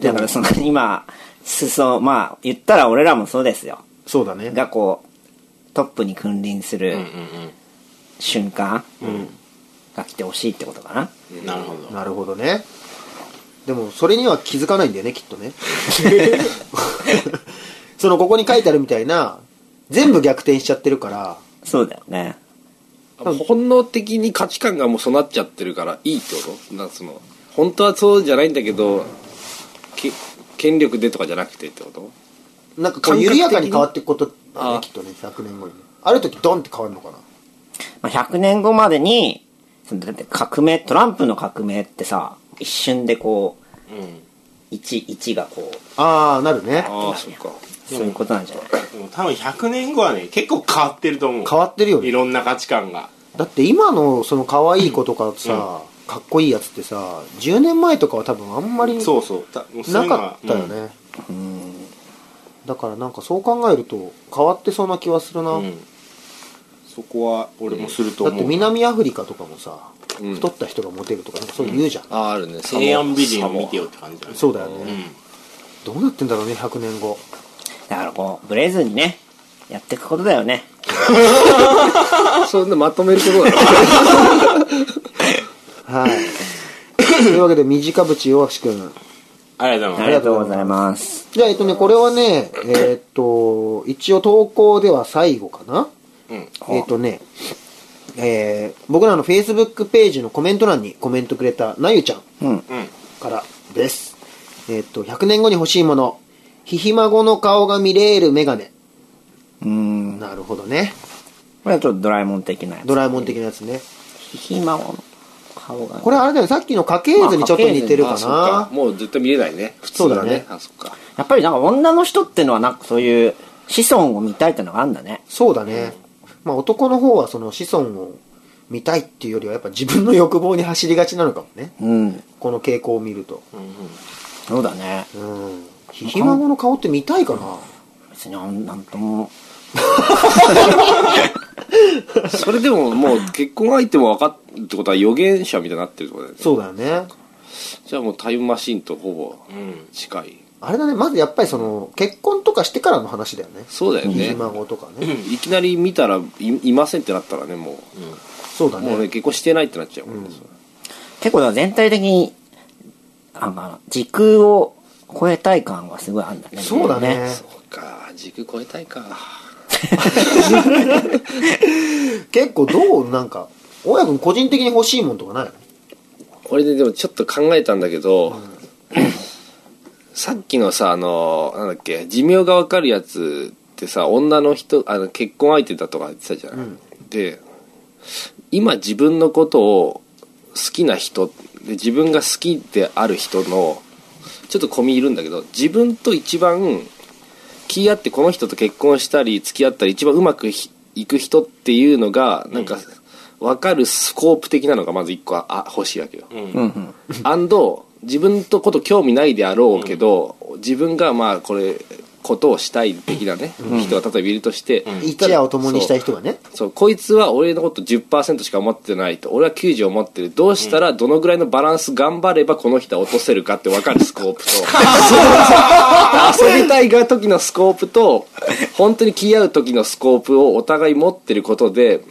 だからその今、裾、まあ言ったら俺らもそうですよ。
そうだね。
がこう、トップに君臨する瞬間が来てほしいってことかな。
なるほど
なるほどね。でも、それには気づかないんだよね、きっとね。 その、ここに書いてあるみたいな、全部逆転しちゃってるから、
そうだよね。
本能的に価値観がもうそうなっちゃってるからいいってことなんかその本当はそうじゃないんだけどけ権力でとかじゃなくてってこと
なんかこう緩やかに変わっていくことだねきっとね100年後にねある時ドンって変わるのかな
まあ、100年後までに、そのだって革命、トランプの革命ってさ、一瞬でこう、1、1がこう、
ああなるね
ああそっか
そういうことなんじゃない
でも多分100年後はね結構変わってると思う
変わってるよ
い
ね
ろんな価値観が
だって今のその可愛い子とかさ、かっこいいやつってさ10年前とかは多分あんまり
そうそうたもうそ
な
ういうのが
かったよ
うん
ねだからなんかそう考えると変わってそうな気はするな、
うんそこは俺もすると
だっ
思
て
う
南アフリカとかもさ、
うん
太った人がモテるとかなんかそういうの言うじゃん、
あああるね
西安美人を見てよって感じだね
そうだよね、
ん
どうなってんだろうね100年後
だからこう、ブレずにね、やっていくことだよね。
そんなまとめることだな
はい。 というわけで、短渕大橋くん。
ありがとうござ
あ
い
り
ま
がとうございます。
じゃあ、えっとね、これはね、えーっと、一応投稿では最後かな。えっとね、えー僕らの Facebook ページのコメント欄にコメントくれたなゆちゃん
うん。
からです。えっと、100年後に欲しいもの。ひひ孫の顔が見れるメガネ。
うん。
なるほどね。
これはちょっとドラえもん的なやつ。
ドラえもん的なやつね。
ひひまごの顔が。
これあれだよね、さっきの家系図にちょっと似てるか
あそっか
な。
もう絶対見れないね普通
そうだね
あそっか
やっぱりなんか女の人ってのはなんかそういう子孫を見たいってのがあるんだね。
そうだね。まあ男の方はその子孫を見たいっていうよりはやっぱ自分の欲望に走りがちなのかもね。
うん。
この傾向を見ると。
そうだね。
うん。ひひ孫の顔って見たいかな
別にあんなんとも。
それでももう結婚相手も分かるってことは予言者みたいになってるってことだよね
そうだよね。
じゃあもうタイムマシンとほぼ近い、
あれだね、まずやっぱりその、結婚とかしてからの話だよね。
そうだよ
ひひ
ね、
孫とかね。
いきなり見たらいいませんってなったらねも
そうだ
う、もうね
ね。
結婚してないってなっちゃうもんね、それ
結構だから全体的に、あの、時空を超えたい感がすごいあるんだね。
そうだね。
そっか軸超えたいか
結構どうなんか、親君個人的に欲しいもんとかないの
これででもちょっと考えたんだけど、さっきのさあのなんだっけ寿命が分かるやつってさ女の人あの結婚相手だとか言ってたじゃない、で今自分のことを好きな人で自分が好きである人のちょっと込みいるんだけど自分と一番気合ってこの人と結婚したり付き合ったり一番うまくひいく人っていうのがなんか分かるスコープ的なのがまず一個ああ欲しいわけよ、
うん
アンド自分とこと興味ないであろうけど、自分がまあこれことをしたい的なね、人が例えばいるとして、
一夜を共にしたい人がね。
そうこいつは俺のこと10%しか思ってないと俺は90思ってるどうしたらどのぐらいのバランス頑張ればこの人は落とせるかって分かるスコ ープとそう遊びたいが時のスコープと本当に気合う時のスコープをお互い持ってることで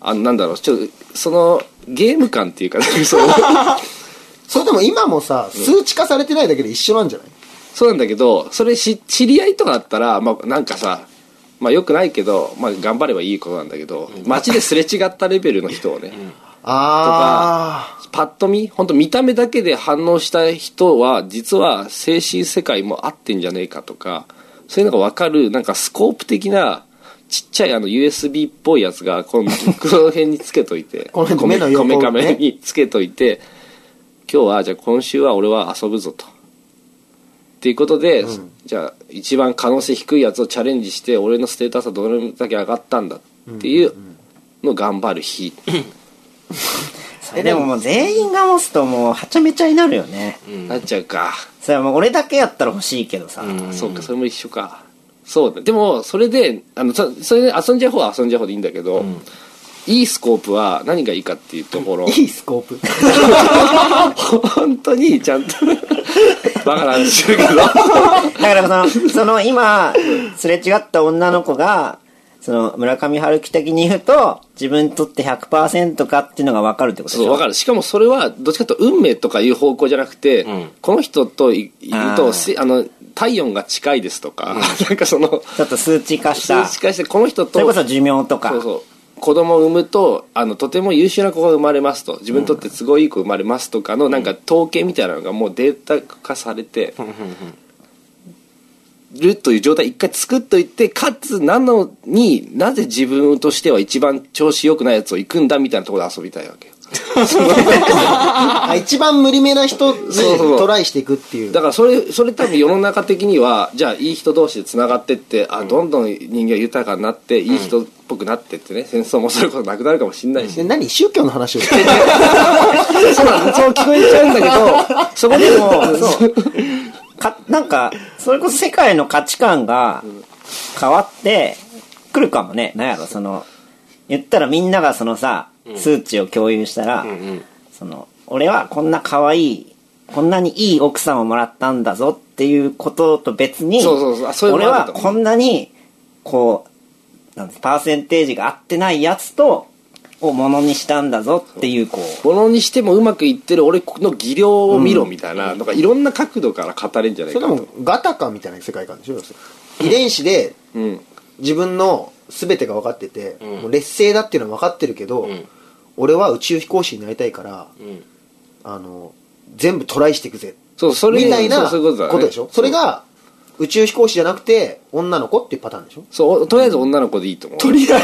あのなんだろうちょっとそのゲーム感っていうか、ね、 そう
それでも今もさ、数値化されてないだけで一緒なんじゃない
そうなんだけどそれし知り合いとかだったら、まあ、なんかさまあよくないけど、まあ、頑張ればいいことなんだけど街ですれ違ったレベルの人をね、
あ
パッと見本当見た目だけで反応した人は実は精神世界も合ってんじゃねえかとかそういうのが分かるなんかスコープ的なちっちゃいあの USB っぽいやつがこのこの辺につけといて
この辺
こめ
目の横
こめかめ
ね
につけといて今日はじゃあ今週は俺は遊ぶぞと。っていうことで、じゃあ一番可能性低いやつをチャレンジして俺のステータスはどれだけ上がったんだっていうのを頑張る日、
うん。でももう全員が持つともうはちゃめちゃになるよね。
なっちゃうか。
それはもう俺だけやったら欲しいけどさ。
あそうかそれも一緒かそうだでもそれであのそそれで遊んじゃう方は遊んじゃう方でいいんだけど、いいスコープは何がいいかっていうところ
あ、いいスコー プ。
本当にちゃんと バカな話してるけど
だからその、その今、すれ違った女の子が、その村上春樹的に言うと、自分にとって100%かっていうのが分かるってことで
そ
し
う
ょ
わかるしかもそれはどっちかというと運命とかいう方向じゃなくて、この人といいる
あ
と
ー
せあの体温が近いですとか、なんかその
ちょっと数値化した。
数値化してこの人と
それこそ寿命とか。
そうそう子供を産むとあのとても優秀な子が生まれますと自分にとって都合いい子生まれますとかの、なんか統計みたいなのがもうデータ化されてるという状態一回作っといてかつなのになぜ自分としては一番調子良くないやつを行くんだみたいなところで遊びたいわけよ
あ一番無理めな人に
そうそう
トライしていくっていう。
だからそれそれ多分世の中的にはじゃあいい人同士でつながってってあどんどん人間は豊かになっていい人っぽくなってってね戦争もそれこそなくなるかもしんないし
で何宗教の話をしてる
そうなんだそう聞こえちゃうんだけ ど、そこでも、
そうかなんか、それこそ世界の価値観が変わってくるかもね。なんやろ、その、言ったらみんながそのさ、数値を共有したら、その、俺はこんな可愛い、こんなにいい奥さんをもらったんだぞっっていうことと別に
そうそうそうあそういうの
俺
もあ
は
ると
こんなにこうなんですパーセンテージが合ってないやつとをものにしたんだぞっていうこ う
ものにしてもうまくいってる俺の技量を見ろみたいな、なんかいろんな角度から語れんじゃない
それ
か
で
と
もガタカみたいな世界観でしょ要するに遺伝子で
うん
自分の全てが分かってて、もう劣勢だっていうのは分かってるけど、
ん
俺は宇宙飛行士になりたいから、
ん
あの全部トライしていくぜ
そうそれ
みたいな
そうそう
こ
いうことだね
とでしょそれが宇宙飛行士じゃなくて女の子っていうパターン でしょ
そうとりあえず女の子でいいと思うとりあえ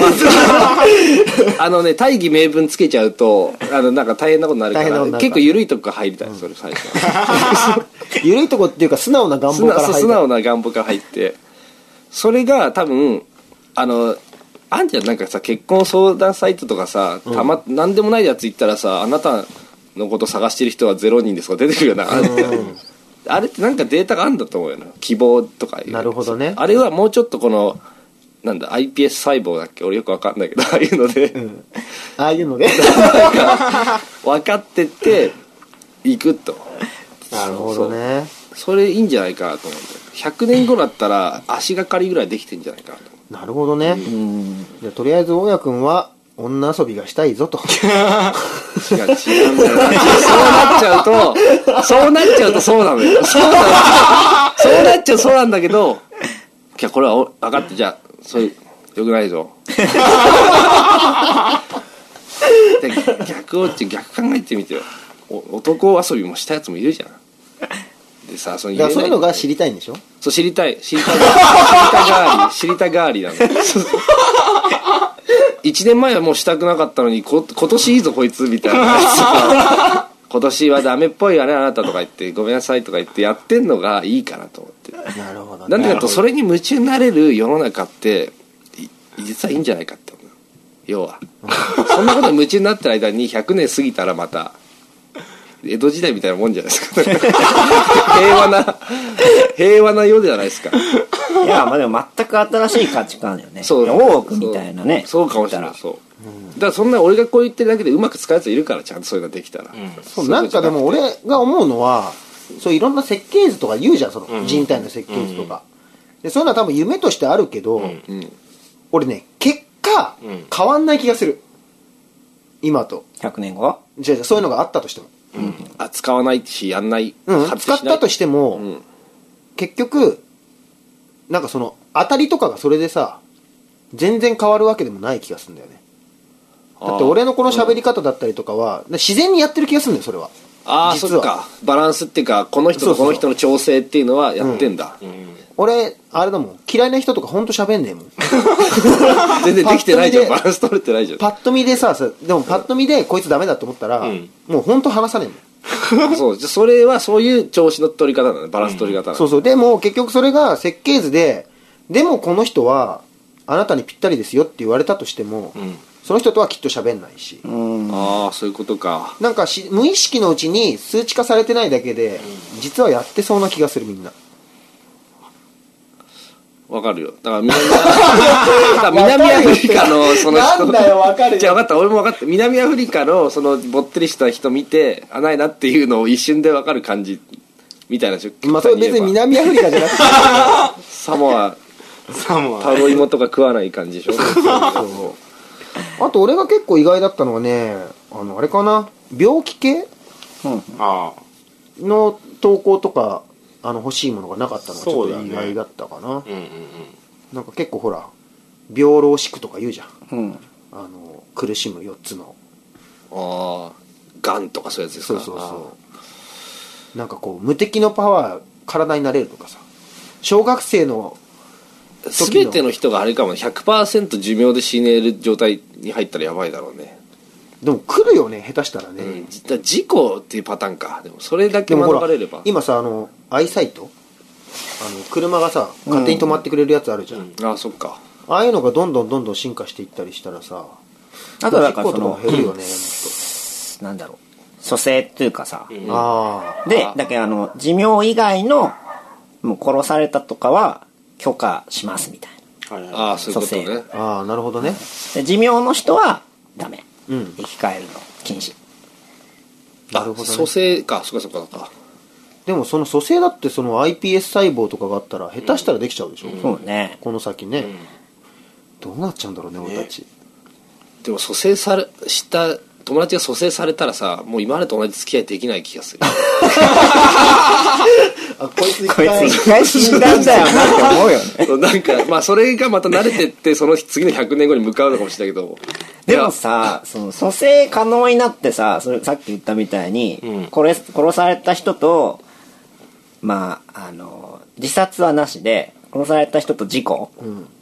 ず あのね大義名分つけちゃうとあのなんか大変なことになるか
大変なこ
ら
とになるから
結構緩いとこから入りたい、それ最初
緩いとこっていうか素直な願
素
望か
直
ら
そう
入
素
る
直な願望から入ってそれが多分あのあんじゃんなんかさ結婚相談サイトとかさたま、なんでもないやつ行ったらさあなたのこと探してる人は0人ですとか出てくるよなあれってあれってなんかデータがあるんだと思うよな希望とかいう
なるほどね
あれはもうちょっとこのなんだ iPS 細胞だっけ俺よくわかんないけどああいうので、
ああいう ので
分かってって行くと
なるほどね
それいいんじゃないかなと思うんだよ100年後だったら足がかりぐらいできてんじゃないかなと思う
なるほどね、じゃあとりあえず大家君は女遊びがしたいぞと
違う違うんだよそうなっちゃうとそうなっちゃうとそうなのよそうなのそうなっちゃうそうなんだけどいやこれはお分かってじゃあそういうよくないぞで逆をち逆考えてみてよお男遊びもしたやつもいるじゃんでさその
いやそういうのが知
り
りたいんでしょ
そう知りたい知りたが知りたがり知りたがりなの1年前はもうしたくなかったのにこ今年いいぞこいつみたいな今年はダメっぽいわねあなたとか言ってごめんなさいとか言ってやってんのがいいかなと思って
なるほどね
なんでかとそれに夢中になれる世の中ってい実はいいんじゃないかって思う 要はそんなことに夢中になってる間に100年過ぎたらまた江戸時代みたいなもんじゃないで すか平和な平和な世じゃないですか
いやまあでも全く新しい価値観よね
そう
大奥みたいなね
そうそうかもしれないそう、だからそんな俺がこう言ってるだけでうまく使うやついるからちゃんとそういうのできたら、
そうなんかでも俺が思うのはそういろんな設計図とか言うじゃんその人体の設計図とか、でそういうのは多分夢としてあるけど、
うん
俺ね結果、
ん
変わんない気がする今と
100年後
じゃあそういうのがあったとしても、
あ使わないしやんない、
うん、
発
使
揮
っ
しない
たとしても、
うん
結局なんかその当たりとかがそれでさ全然変わるわけでもない気がするんだよねだって俺のこの喋り方だったりとかは、自然にやってる気がするんだよそれは
ああ
実は
そっかバランスっていうかこの人とこの人の調整っていうのはやってんだ、
俺あれだもん嫌いな人とかほんと喋んねえもん
全然できてない じゃん
パ
バ
ッ
ランス取れてないじゃん
パッと見でささでもパッと見でこいつダメだと思ったら、もうほんと話さねえもん
そうじゃあそれはそういう調子の取り方だねバランス取り方なの
そうそうでも結局それが設計図ででもこの人はあなたにぴったりですよって言われたとしても、その人とはきっと喋んないし、
ああそういうことか
なんかし無意識のうちに数値化されてないだけで、実はやってそうな気がするみんな
わかるよだから南だから南アフ リカのその人
なんだよわかるよ
じゃあ分かった俺も分かった南アフリカのそのぼってりした人見てあないなっていうのを一瞬で分かる感じみたいなでしょ
まあそれ別に
極端言えば
南アフリカじゃなく て
サモア
サモ
タロイモとか食わない感じでしょ
あと俺が結構意外だったのはねあのあれかな病気系
あ
の投稿とかあの欲しいものがなかったのがちょっ
そうだ
と
ね
意外だったかな、
あうんうん
なんか結構ほら病老宿とか言うじゃん
うん
あの苦しむ4つの
ああガンとかそういうやつです
そ
か
うそうそうなんかこう無敵のパワー体になれるとかさ小学生の
あー全ての人があれかもね100%寿命で死ねる状態に入ったらやばいだろうね
でも来るよね下手したらね、
うん、じだ事故っていうパターンかでもそれだけ
でもほ
免
ら
れれば
今さあのアイサイトあの車がさ勝手に止まってくれるやつあるじゃん、
ああそっか
ああいうのがどんどんどんどん進化していったりしたらさ
あとだか
事
ら
故
そ
と
の
か減るよね、
なんだろう蘇生っていうかさ、
もっとああ
でだけどあの寿命以外のもう殺されたとかは許可しますみたいな
はいはい
ああそういうこと
蘇
ね
ああなるほどね
で寿命の人はダメ、
うん
生き返るの禁止
なるほどね
蘇生かそっかそっかそっか
でもその蘇生だってその iPS 細胞とかがあったら下手したらできちゃうでしょ、
そうね。
この先ね、どうなっちゃうんだろうね俺たち、
でも蘇生されした友達が蘇生されたらさもう今までと同じ付き合いできない気 がする
あ こいつ一
こい
回
つ一回死んだんだよなって思うよね。
そうなんかまあそれがまた慣れてってその次の100年後に向かうのかもしれないけど
でもさ、その蘇生可能になってさ、それさっき言ったみたいに、これ殺された人と、まあ、あの、自殺はなしで、殺された人と事故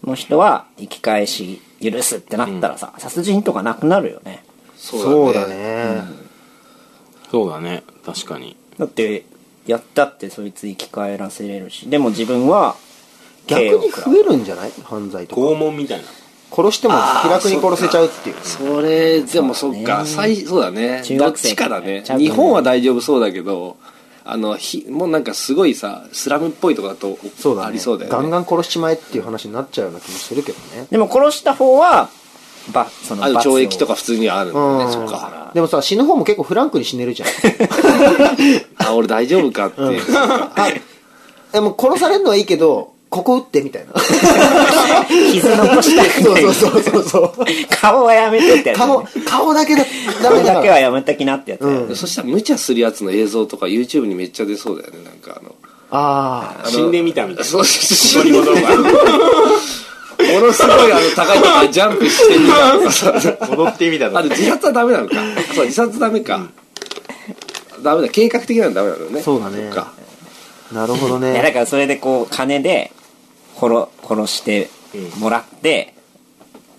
の人は生き返し許すってなったらさ、殺人とかなくなるよね。
そうだね、
そうだね確かに
だって、やったってそいつ生き返らせれるし、でも自分は、
逆
刑を
に
食らう
増えるんじゃない犯罪とか
拷問みたいな
殺しても気楽に殺せちゃうっていう
それでもそっか最そうだね
中
どっ
学生
ちかだね
ちゃんとね
日本は大丈夫そうだけどあのひもうなんかすごいさスラムっぽいとかだと
そうだね
ありそうだよね
ガンガン殺しちまえっていう話になっちゃうような気もするけどね
でも殺した方は、ば、その
あと
罰を
懲役とか普通にあるんだ
う
よ
ん
ねそっか
でもさ死ぬ方も結構フランクに死ねるじゃん
あ俺大丈夫かっていう、
でも殺されるのはいいけどここ打ってみたいな
傷残した く
そ
ないう
そうそうそう
顔はやめてってやつね、
顔顔だけだダメだ
顔だ
か
けは
ら
やめたきなってやつだよね、
そしたら無茶するやつの映像とか YouTube にめっちゃ出そうだよねなんかあの
あ
死んでみたみた いな
そうそう
ドリボ動画
ものすごいあの高いとこからジャンプしてみたとかさ
戻ってみたと
あ
か
で自殺はダメなのかそう自殺ダメか、ダメだ計画的なのダメなのね
そうだね
そっか
あなるほど
いやだ
ね
からそれでこう金で殺殺してもらって、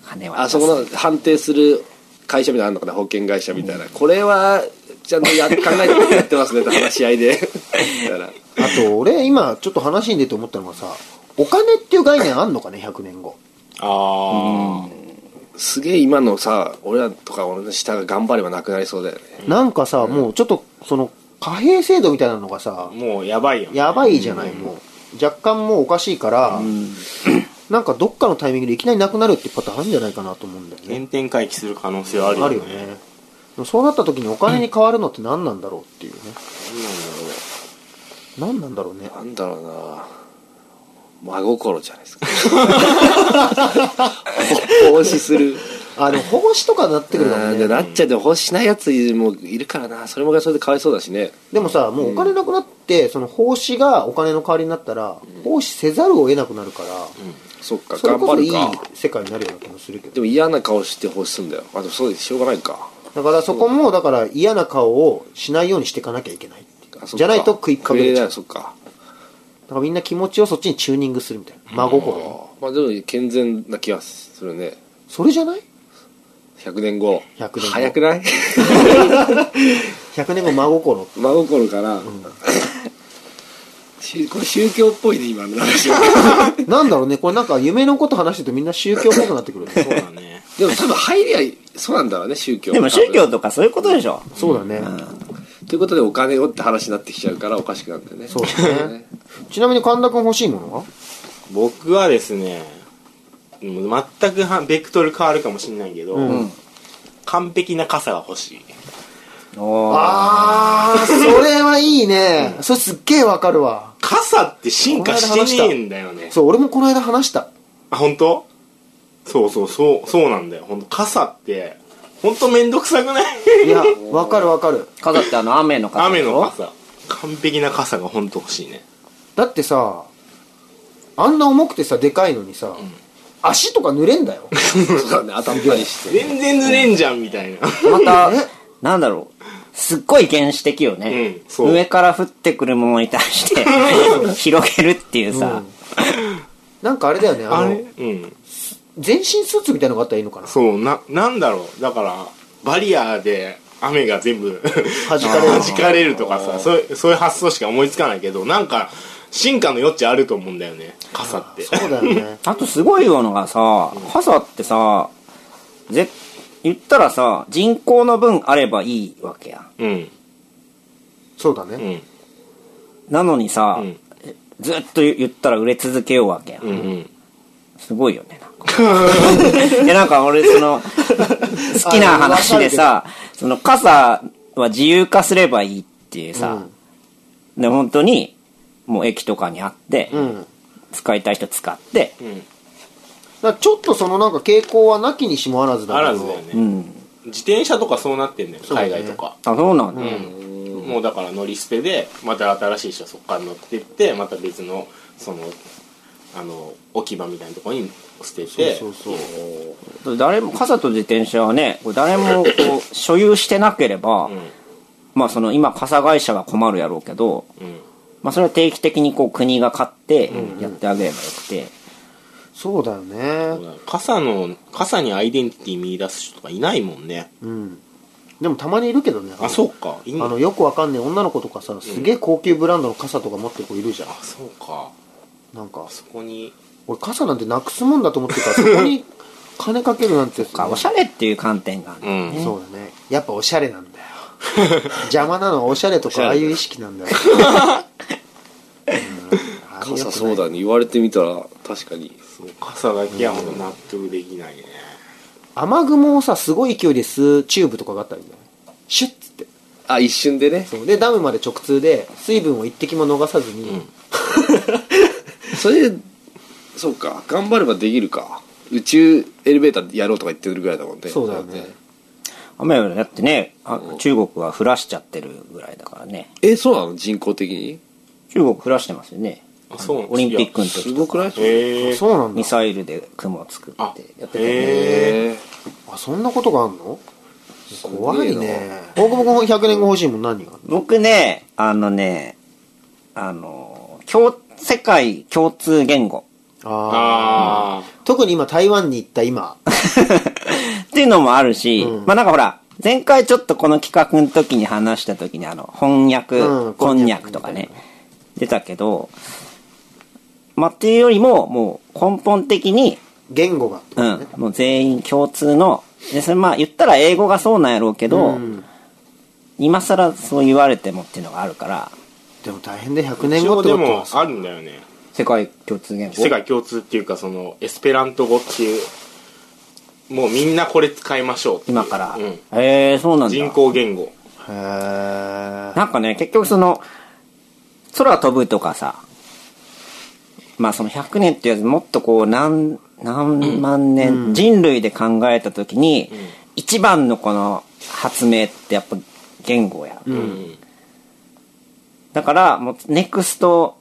金は
あそこの判定する会社みたいなのあるのかな保険会社みたいな、これはちゃんとや考えてやってますねって 話し合 いでみたいな
あと俺今ちょっと話に出て思ったのがさお金っていう概念あんのかね100年後
あ
すげえ今のさ俺らとか俺の下が頑張ればなくなりそうだよね
なんかさもうちょっとその貨幣制度みたいなのがさ
あもうやばいよね
やばいじゃないもう若干もうおかしいからなんかどっかのタイミングでいきなりなくなるってパターンあるんじゃないかなと思うんだよね
原点回帰する可能性はある
あ
よ
る
ね
よねでもそうなった時にお金に変わるのって何なんだろうっていうね何なんだろうね
なんだろうな真心じゃないですか奉仕する
あでも保護司とかになってくるかも
うん
ね
でなっちゃって奉仕しないやつもいるからなそれもそれでかわいそうだしね
でもさもうお金なくなってその奉仕がお金の代わりになったら奉仕せざるを得なくなるから
そっか
それ
頑
こ
張
そい
る
い
か
世界になるような気もするけど
でも嫌な顔して奉仕するんだよあでもそうですしょうがないか
だからそこもだから嫌な顔をしないようにしていかなきゃいけないっていう
あそっか
じゃないと食いっかぶれちゃう
食いれないそっか
だからみんな気持ちをそっちにチューニングするみたいな真心
あ
を
ーまあでも健全な気がするね
それじゃない
100年後
100年後
早くない
100年後真心
真心から、しこれ宗教っぽいね今の話は
なんだろうねこれなんか夢のこと話してるとみんな宗教っぽくなってくるね
そうだ ね
でも多分入りゃそうなんだろうね宗教
でも宗
多
教
分
とかそういうことでしょ
そうだね、
ということでお金をって話になってきちゃうからおかしくなるんだよね
そうですねちなみに神田君欲しいものは
僕はですねもう全くはベクトル変わるかもしれないけど、完璧な傘が欲しい
おー
ああそれはいいねそれすっげえわかるわ
傘って進化してねえんだよね
そう俺もこの間話した
あ本当そうそうそうそうなんだよ本当傘って本当めんどくさくない
いやわかるわかる
傘ってあの雨の傘
雨
でしょ
の傘完璧な傘が本当欲しいね
だってさあんな重くてさでかいのにさ、足とか濡れんだ よ
そうだね頭た りして
全然濡れんじゃんみたいな
また
え
なんだろうすっごい原始的よね
うん、そう
上から降ってくるものに対して 広げるっていうさ、
なんかあれだよねあ
あ
の
れうん
全身スーツみたいなのがあったらいいのかな
そうななんだろうだからバリアーで雨が全部
弾かれる
弾かれるとかさそういうそういう発想しか思いつかないけどなんか進化の余地あると思うんだよね傘って
そうだよね
あとすごいのがさ傘ってさぜ言ったらさ人口の分あればいいわけや
うん
そうだね、
うん
なのにさ、
うん
ずっと言ったら売れ続けようわけや、ん
うんうん
すごいよねなんか いやなんか俺その好きな話でさその傘は自由化すればいいっていうさ、で本当にもう駅とかにあって、
うん
使いたい人使って、
だからちょっとそのなんか傾向はなきにしもあらずだ
あ
けど
らずだよ
う
ね
ん、
自転車とかそうなってんだよ
そうね
海外とか
あそうなんだ、
うんもうだから乗り捨てでまた新しい人はそこから乗ってってまた別のそのあの置き場みたいなところに捨てて
そうそうそう
誰も傘と自転車はねこう誰もこう所有してなければ、まあその今傘会社は困るやろうけど、
うん
まあ、それは定期的にこう国が買ってやってあげればよくて、
そうだよ
そう
ね
だ傘の傘にアイデンティティ見出す人とかいないもんね
うんでもたまにいるけどね
あそうかいいんだ
あのよくわかんねえ女の子とかさすげえ高級ブランドの傘とか持ってる子いるじゃん
あそうか
なんか
あそこに
俺傘なんてなくすもんだと思ってた らそこに金かけるなんて
かおしゃれっていう観点がある、
うん
そうだねやっぱおしゃれなんだ よ邪魔なのはおしゃれとかああいう意識なんだよ、うんあれ良くない
傘そうだね言われてみたら確かに
そう傘だけはほんと納得できないね
雨雲をさすごい勢いで吸うチューブとかがあったらいいんだよねシュッつって
あ一瞬でね
そうでダムまで直通で水分を一滴も逃さずに、
それそうか頑張ればできるか宇宙エレベーターやろうとか言ってるぐらいだもんね
そうだよね
雨はだってねあ中国は降らしちゃってるぐらいだからね
えそうなの人工的に
中国降らしてますよね
あそうなん
オリンピックの時
すごくない
へえ
そうなんだ
ミサイルで雲を作ってや
あ
ってたよね
へえ
え
あそんなことがあんの
な
怖いね大久保君100年後欲しいもん何があんの
僕ねあのねあの共世界共通言語
あ
あ
ー特に今台湾に行った今
っていうのもあるし、まあなんかほら前回ちょっとこの企画の時に話した時にあの翻訳、
うん
こんにゃくとかね出たけどまあっていうよりももう根本的に
言語がってこと
うん
ね、、
もう全員共通のでそれまあ言ったら英語がそうなんやろうけど、
うん
今更そう言われてもっていうのがあるから
でも大変で100
あ
年
一
後
応
って
で
こと
も
はさ
あるんだよね
世界共通言語
世界共通っていうかそのエスペラント語っていうもうみんなこれ使いましょうっていう
今から、
うん
えー、そうなんだ
人工言語
へー
なんかね結局その空飛ぶとかさまあその100年っていうやつもっとこう何何万年、人類で考えた時に、一番のこの発明ってやっぱ言語や、
うん
だからもうネクスト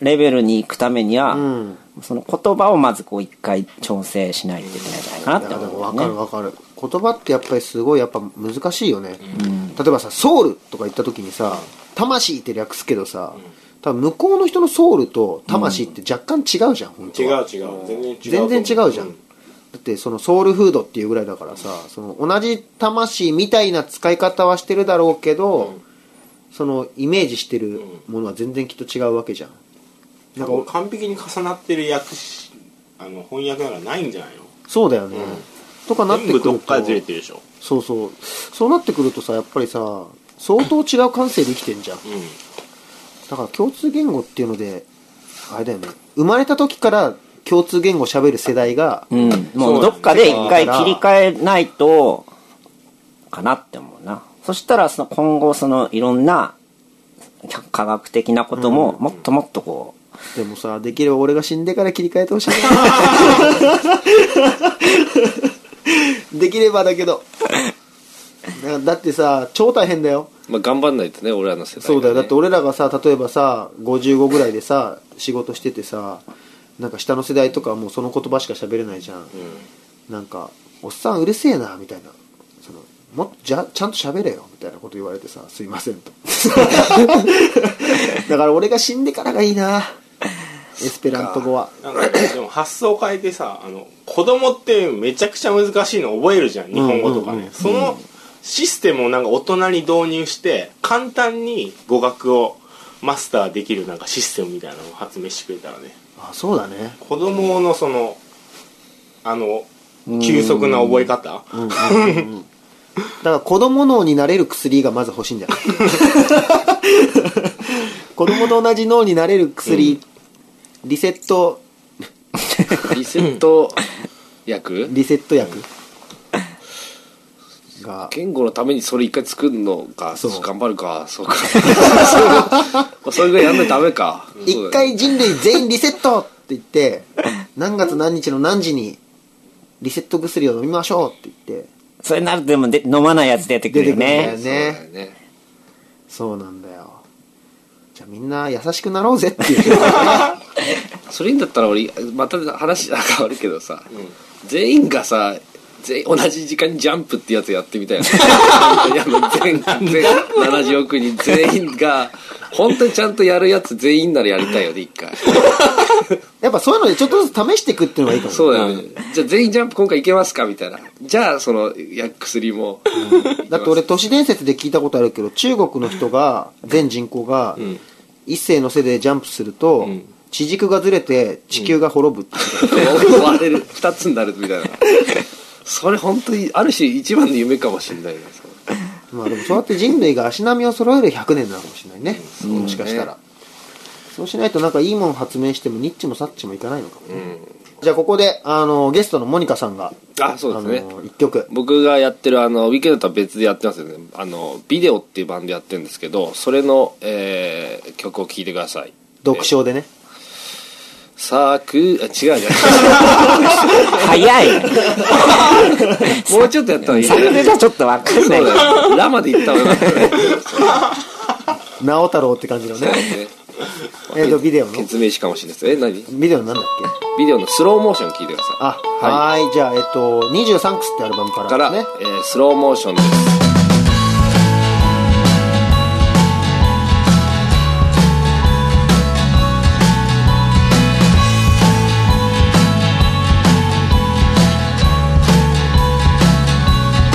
レベルに行くためには、
うん
その言葉をまずこう一回調整しないといけないんじゃないかないっ
や
て
で
思
も
うよ
分
ね、
かる分かる言葉ってやっぱりすごいやっぱ難しいよね、例えばさ「ソウル」とか言った時にさ「魂」って略すけどさ、多分向こうの人のソウルと魂って若干違うじゃん、本当
違う
は
違う全然違う
全然違うじゃん、
ん
だってそのソウルフードっていうぐらいだからさその同じ魂みたいな使い方はしてるだろうけど、そのイメージしてるものは全然きっと違うわけじゃん
なんか完璧に重なってる訳しあの翻訳なんかないんじゃないの
そうだよね、とかなってく
全
る
部
と
どっかでずれてるでしょ
そうそうそうなってくるとさやっぱりさ相当違う感性で生きてんじゃん
うん
だから共通言語っていうのであれだよね生まれた時から共通言語喋る世代が、
うん、もうどっかで一回切り替えないとかなって思うなそしたらその今後そのいろんな科学的なことももっともっとこう
でもさできれば俺が死んでから切り替えてほしいなできればだけどだだってさ超大変だよ
まあ頑張んないとね俺らの世代がね
そうだよだって俺らがさ例えばさ55ぐらいでさ仕事しててさなんか下の世代とかはもうその言葉しか喋れないじゃん、なんか「おっさんうるせえな」みたいなそのもっとじゃちゃんと喋れよみたいなこと言われてさ「すいませ ん」とだから俺が死んでからがいいなエスペラント語は
なんかでも発想を変えてさあの子供ってめちゃくちゃ難しいの覚えるじゃん日本語とか
うん
ね、
うんうん
そのシステムをなんか大人に導入して簡単に語学をマスターできるなんかシステムみたいなのを発明してくれたらね
あそうだね
子供のそのあの急速な覚え
だ
方、
から子供脳になれる薬がまず欲しいん じゃない子供と同じ脳になれる薬、リセット
リセット薬
リセット薬、が
言語のためにそれ一回作るのか
そう
頑張るか そうかそうそれぐらいやんないとダメか
一回人類全員リセットって言って何月何日の何時にリセット薬を飲みましょうって言って
それになるとでもで飲まないやつ出てくるよ
出てくるん
ね
だ
そう
よ
だよ
ね
ね
そうなんだよじゃあみんな優しくなろうぜっていう
それにだったら俺また話なんか変わるけどさ、全員がさ全員同じ時間にジャンプってやつやってみ たいな本当にあの全全70億人全員が本当にちゃんとやるやつ全員ならやりたいよね一回
やっぱそういうのでちょっとずつ試していくっていうのがいいかもね
そうだよね、じゃあ全員ジャンプ今回いけますかみたいなじゃあそのや薬も、
だって俺都市伝説で聞いたことあるけど中国の人が全人口が一世の背でジャンプすると、地軸がずれて地球が滅ぶって、
追われる2つになるみたいなそれ本当にある種一番の夢かもしれないねその
まあでもそうやって人類が足並みを揃える100年なのかもしれないね、もしかしたらそうしないとなんかいいもの発明してもニッチもサッチもいかないのかもね、じゃあここであのゲストのモニカさんが
あそうですね
あの1曲
僕がやってるあのウィーケンドとは別でやってますよねあのビデオっていうバンドやってるんですけどそれの、えー曲を聴いてください
独唱でね
さくあ違うじ
早い
ゃんもうちょっとやったらいい
それじゃちょっとわかんない
そうだよラマで言った方がよかったね
直太朗って感じのねえっとビデオのビ
決明詞かもしれないですえ何
デオのなんだっけ
ビデオのスローモーション聴いてください
あ、はい、じゃあ、えっと、23クスってアルバムから
から、
ね。
えースローモーションです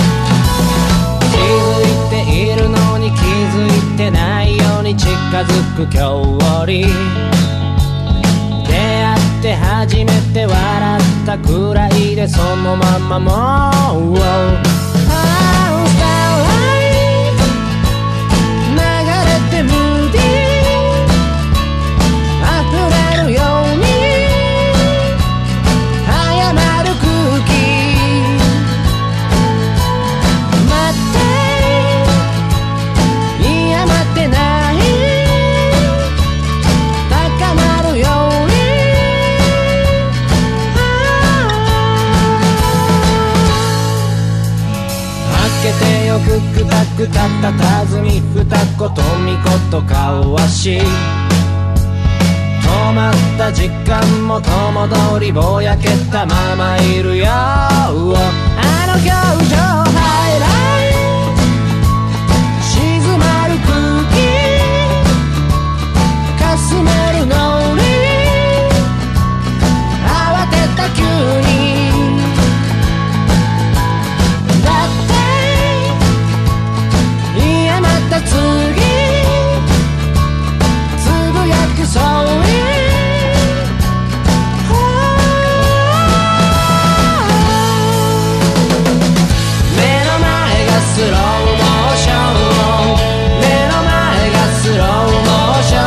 気づいているのに気づいてないように近づく距離出会って初めて笑ったくらいでそのままもう I'll starlight 流れて無理溢れるように早まる空気待っていや待ってない高まるように開けてよくくたくたたたずみ二言三言交わし止まった時間も友通りぼやけたままいるよあの表情ハイライト静まる空気かすめる脳裏慌てた急にだっていやまた次つぶやくそう目の前がスローモーション目の前がスローモーション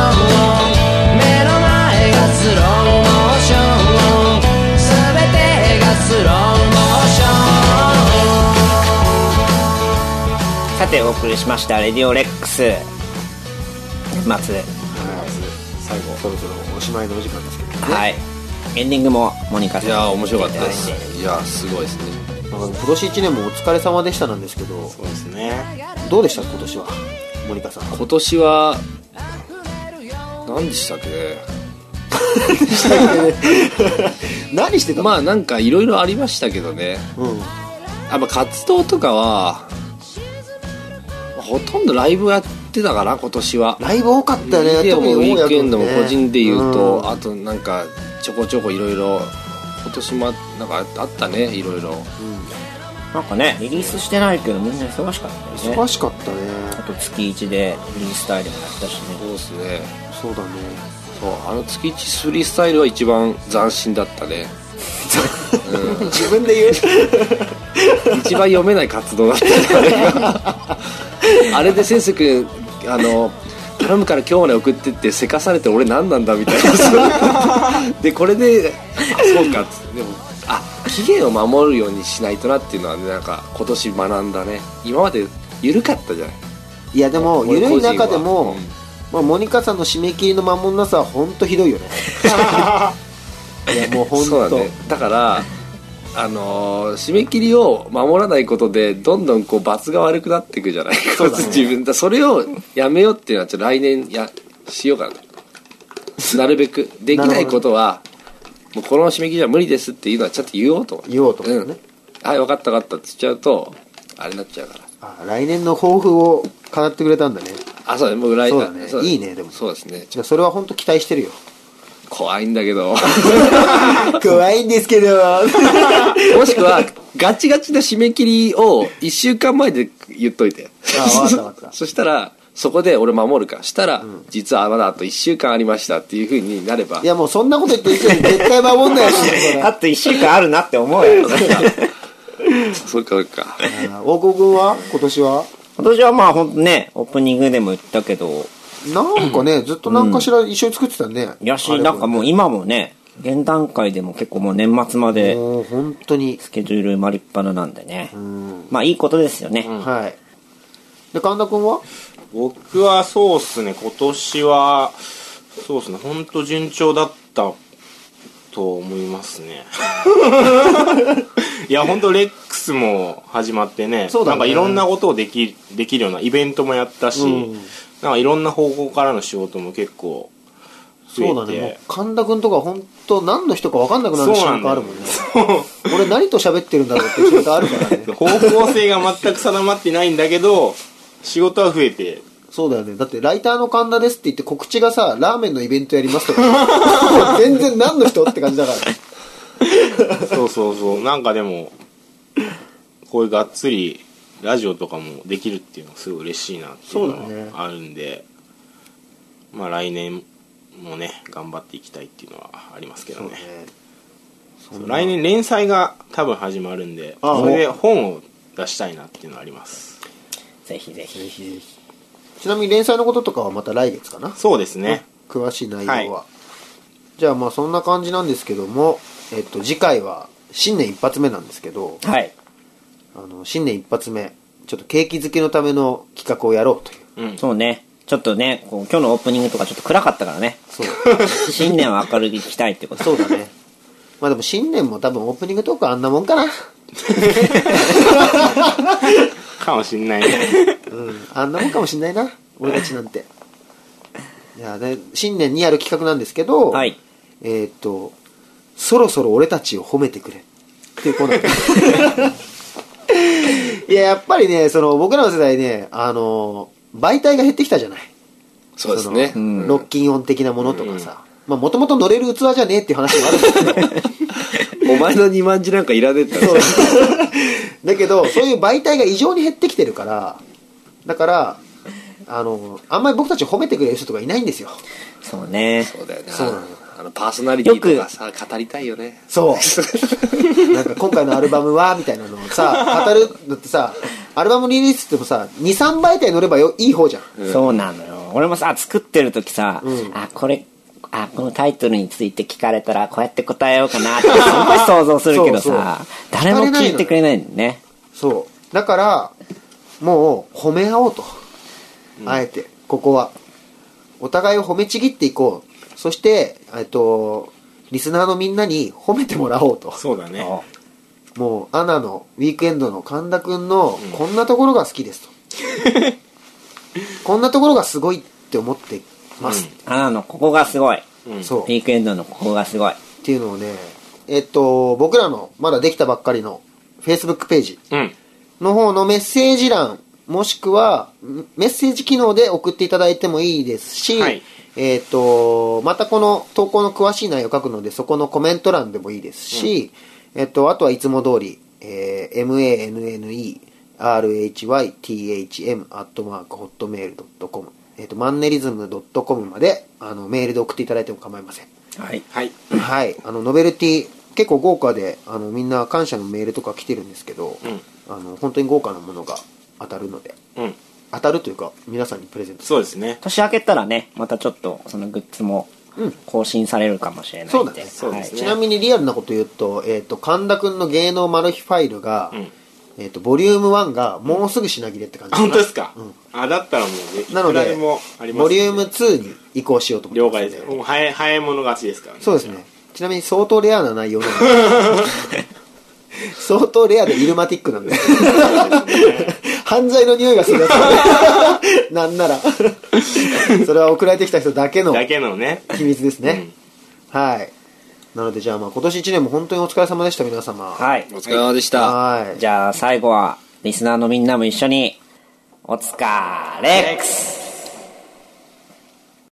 目の前がスローモーションすべてがスローモーション
さてお送りしました「レディオレックス」年末
最後、そろそろおしまいのお時間ですけ
はいエンディングもモニカさん
いやー面白かったです
いただいて
いやーすごいですね
ど、なんか今年1年もお疲れ様でしたなんですけど、
そうですね
どうでした今年は、モニカさん。
今年は何でしたっけね
何してたの、
まあなんかいろいろありましたけどね
うん。
あまあ活動とかはほとんどライブやってたかな今年は
ライブ多かったね、
ビデオもウィークエンドも
特に大家君ね
個人で言うと、
ん
あとなんかちょこちょこいろいろ今年もなんかあったねいろいろ
なんかねリリースしてないけどみんな忙しかったよ
忙
ね
しかったね。
あと月1でフリースタイルもやったし
そ
ね
うですね
そうだね。
そうあの月一スリースタイルは一番斬新だったね
自分で言う。
一番読めない活動だったねあれがあれで先生君あの頼むから今日まで送ってってせかされて俺何なんだみたいなでこれであそうかっつってでもあ期限を守るようにしないとなっていうのはねなんか今年学んだね今まで緩かったじゃない
いやでも
俺
緩い中で
個人は
も、まあ、モニカさんの締め切りの守んなさは本当ひどいよ ねいやもう本
そうだ
当、
ねだからあのー締め切りを守らないことでどんどんこう罰が悪くなっていくじゃない
そうだね
自分だそれをやめようっていうのはちょっと来年やしようかななるべくできないことはもうこの締め切りじゃ無理ですっていうのはちゃんと言おうと思う
言おうと思って
ん
ね、
はい分かった分かったって言っちゃうとあれになっちゃうから
あ来年の抱負を語ってくれたんだね
あそうだねもう来
そうだね
あ
いいねでも
そうですねちょ
じゃあそれは本当期待してるよ
怖いんだけど
怖いんですけど
もしくはガチガチな締め切りを1週間前で言っといて
あわかったわかった
そしたらそこで俺守るかしたら、実はまだあと1週間ありましたっていうふうになれば
いやもうそんなこと言ってる人に絶対守んないよそれ
あと1週間あるなって思うよ
そっかそっか
あ大久保君は今年は
今年はまあほんとねオープニングでも言ったけど
なんかねずっと何かしら一緒に作ってたね、
やしなんかもう今もね現段階でも結構もう年末まで
もう本当に
スケジュール埋まりっぱななんでねまあいいことですよね、
はいで神田君は
僕はそうっすね今年はそうっすね本当順調だったと思いま すねいや本当レックスも始まってね
そうだね
なんかいろんなことをできできるようなイベントもやったし、なんかいろんな方向からの仕事も結構増え
そ
て
うだねもう神田君とか本当何の人か分かんなくなる
そう
瞬
なんだ
間
よ
あるもんね俺何と喋ってるんだろうって瞬間あるから ね
方向性が全く定まってないんだけど仕事は増えて
そうだよねだってライターの神田ですって言って告知がさラーメンのイベントやりますとか もう全然何の人って感じだから
そうそうそうなんかでもこういうがっつりラジオとかもできるっていうのがすごい嬉しいなっていう
そうだね
のがあるんで、まあ来年もね頑張っていきたいっていうのはありますけどねそう来年連載が多分始まるんで
ああ
それで本を出したいなっていうのはあります
ぜひぜひ
ちなみに連載のこととかはまた来月かな
そうですね
詳しい内容は、
は
じゃあまあそんな感じなんですけども、えっと、次回は新年一発目なんですけど
はい
あの新年一発目ちょっと景気づけのための企画をやろうという
うん
そうねちょっとねこう今日のオープニングとかちょっと暗かったからね
そう
新年は明るくいきたいってこと
そうだねまあでも新年も多分オープニングトークあんなもんかな
かもしんないね
うんあんなもんかもしんないな俺たちなんていやで新年にやる企画なんですけど、
はい
えーっと「そろそろ俺たちを褒めてくれ」っていうコーナー いややっぱりねその僕らの世代ねあの媒体が減ってきたじゃない
そうですね
そのロッキンオン的なものとかさ、まあもともと乗れる器じゃねえっていう話もあるんですけど
お前の2万字なんかいらねえって話
だけどそういう媒体が異常に減ってきてるからだからあのあんまり僕たちを褒めてくれる人とかいないんですよ
そうね
そうだよね
そうなのよ
あのパーソナリティとかさ語りたいよね
そう なんか今回のアルバムはみたいなのをさ語るのってさアルバムリリースってもさ23媒体乗ればよいい方じゃん
そうなのよ俺もさ作ってる時さ、
うん
あこれあこのタイトルについて聞かれたらこうやって答えようかなってすごい想像するけどさ
そうそう
誰も聞いてくれないんだよね
そうだからもう褒め合おうと、あえてここはお互いを褒めちぎっていこうそしてえっとリスナーのみんなに褒めてもらおうと
そうだね
もうアナのウィークエンドの神田くんのこんなところが好きですと、こんなところがすごいって思ってます、
あなのここがすごい
そう
ウィークエンドのここがすごい
っていうのをねえっと僕らのまだできたばっかりの Facebook ページ
うん
の方のメッセージ欄もしくはんメッセージ機能で送っていただいてもいいですし、
はい
えっとまたこの投稿の詳しい内容を書くのでそこのコメント欄でもいいですし、えっとあとはいつも通り、えー mannerhythm.hotmail.com えっとマンネリズム .com まであのメールで送っていただいても構いません
はい
はい
はい、あのノベルティ結構豪華であのみんな感謝のメールとか来てるんですけど、あの本当に豪華なものが当たるので
うん
当たるというか皆さんにプレゼントす
そうですね
年明けたらねまたちょっとそのグッズも更新されるかもしれないんで
そうだね
そうです
ちなみにリアルなこと言うと,、えー、と神田君の芸能マル秘ファイルが、えー、とボリューム1がもうすぐ品切れって感じかな
本当ですか、あだったらもうねい
なの
くら
で
でもあります
ボリューム2に移行しようと思
了
って
解
ます
で
の
すもう早い早い者勝ちですからね
そうですねちなみに相当レアな内容なん で相当レアでイルマティックなんで犯罪の匂いがするやつなんならそれは送られてきた人だけの
だけのね
秘密ですね、はいなのでじゃあまあ今年1年も本当にお疲れ様でした皆様は
はい
お疲れ様でし
い
た
じゃあ最後はリスナーのみんなも一緒にお疲れックス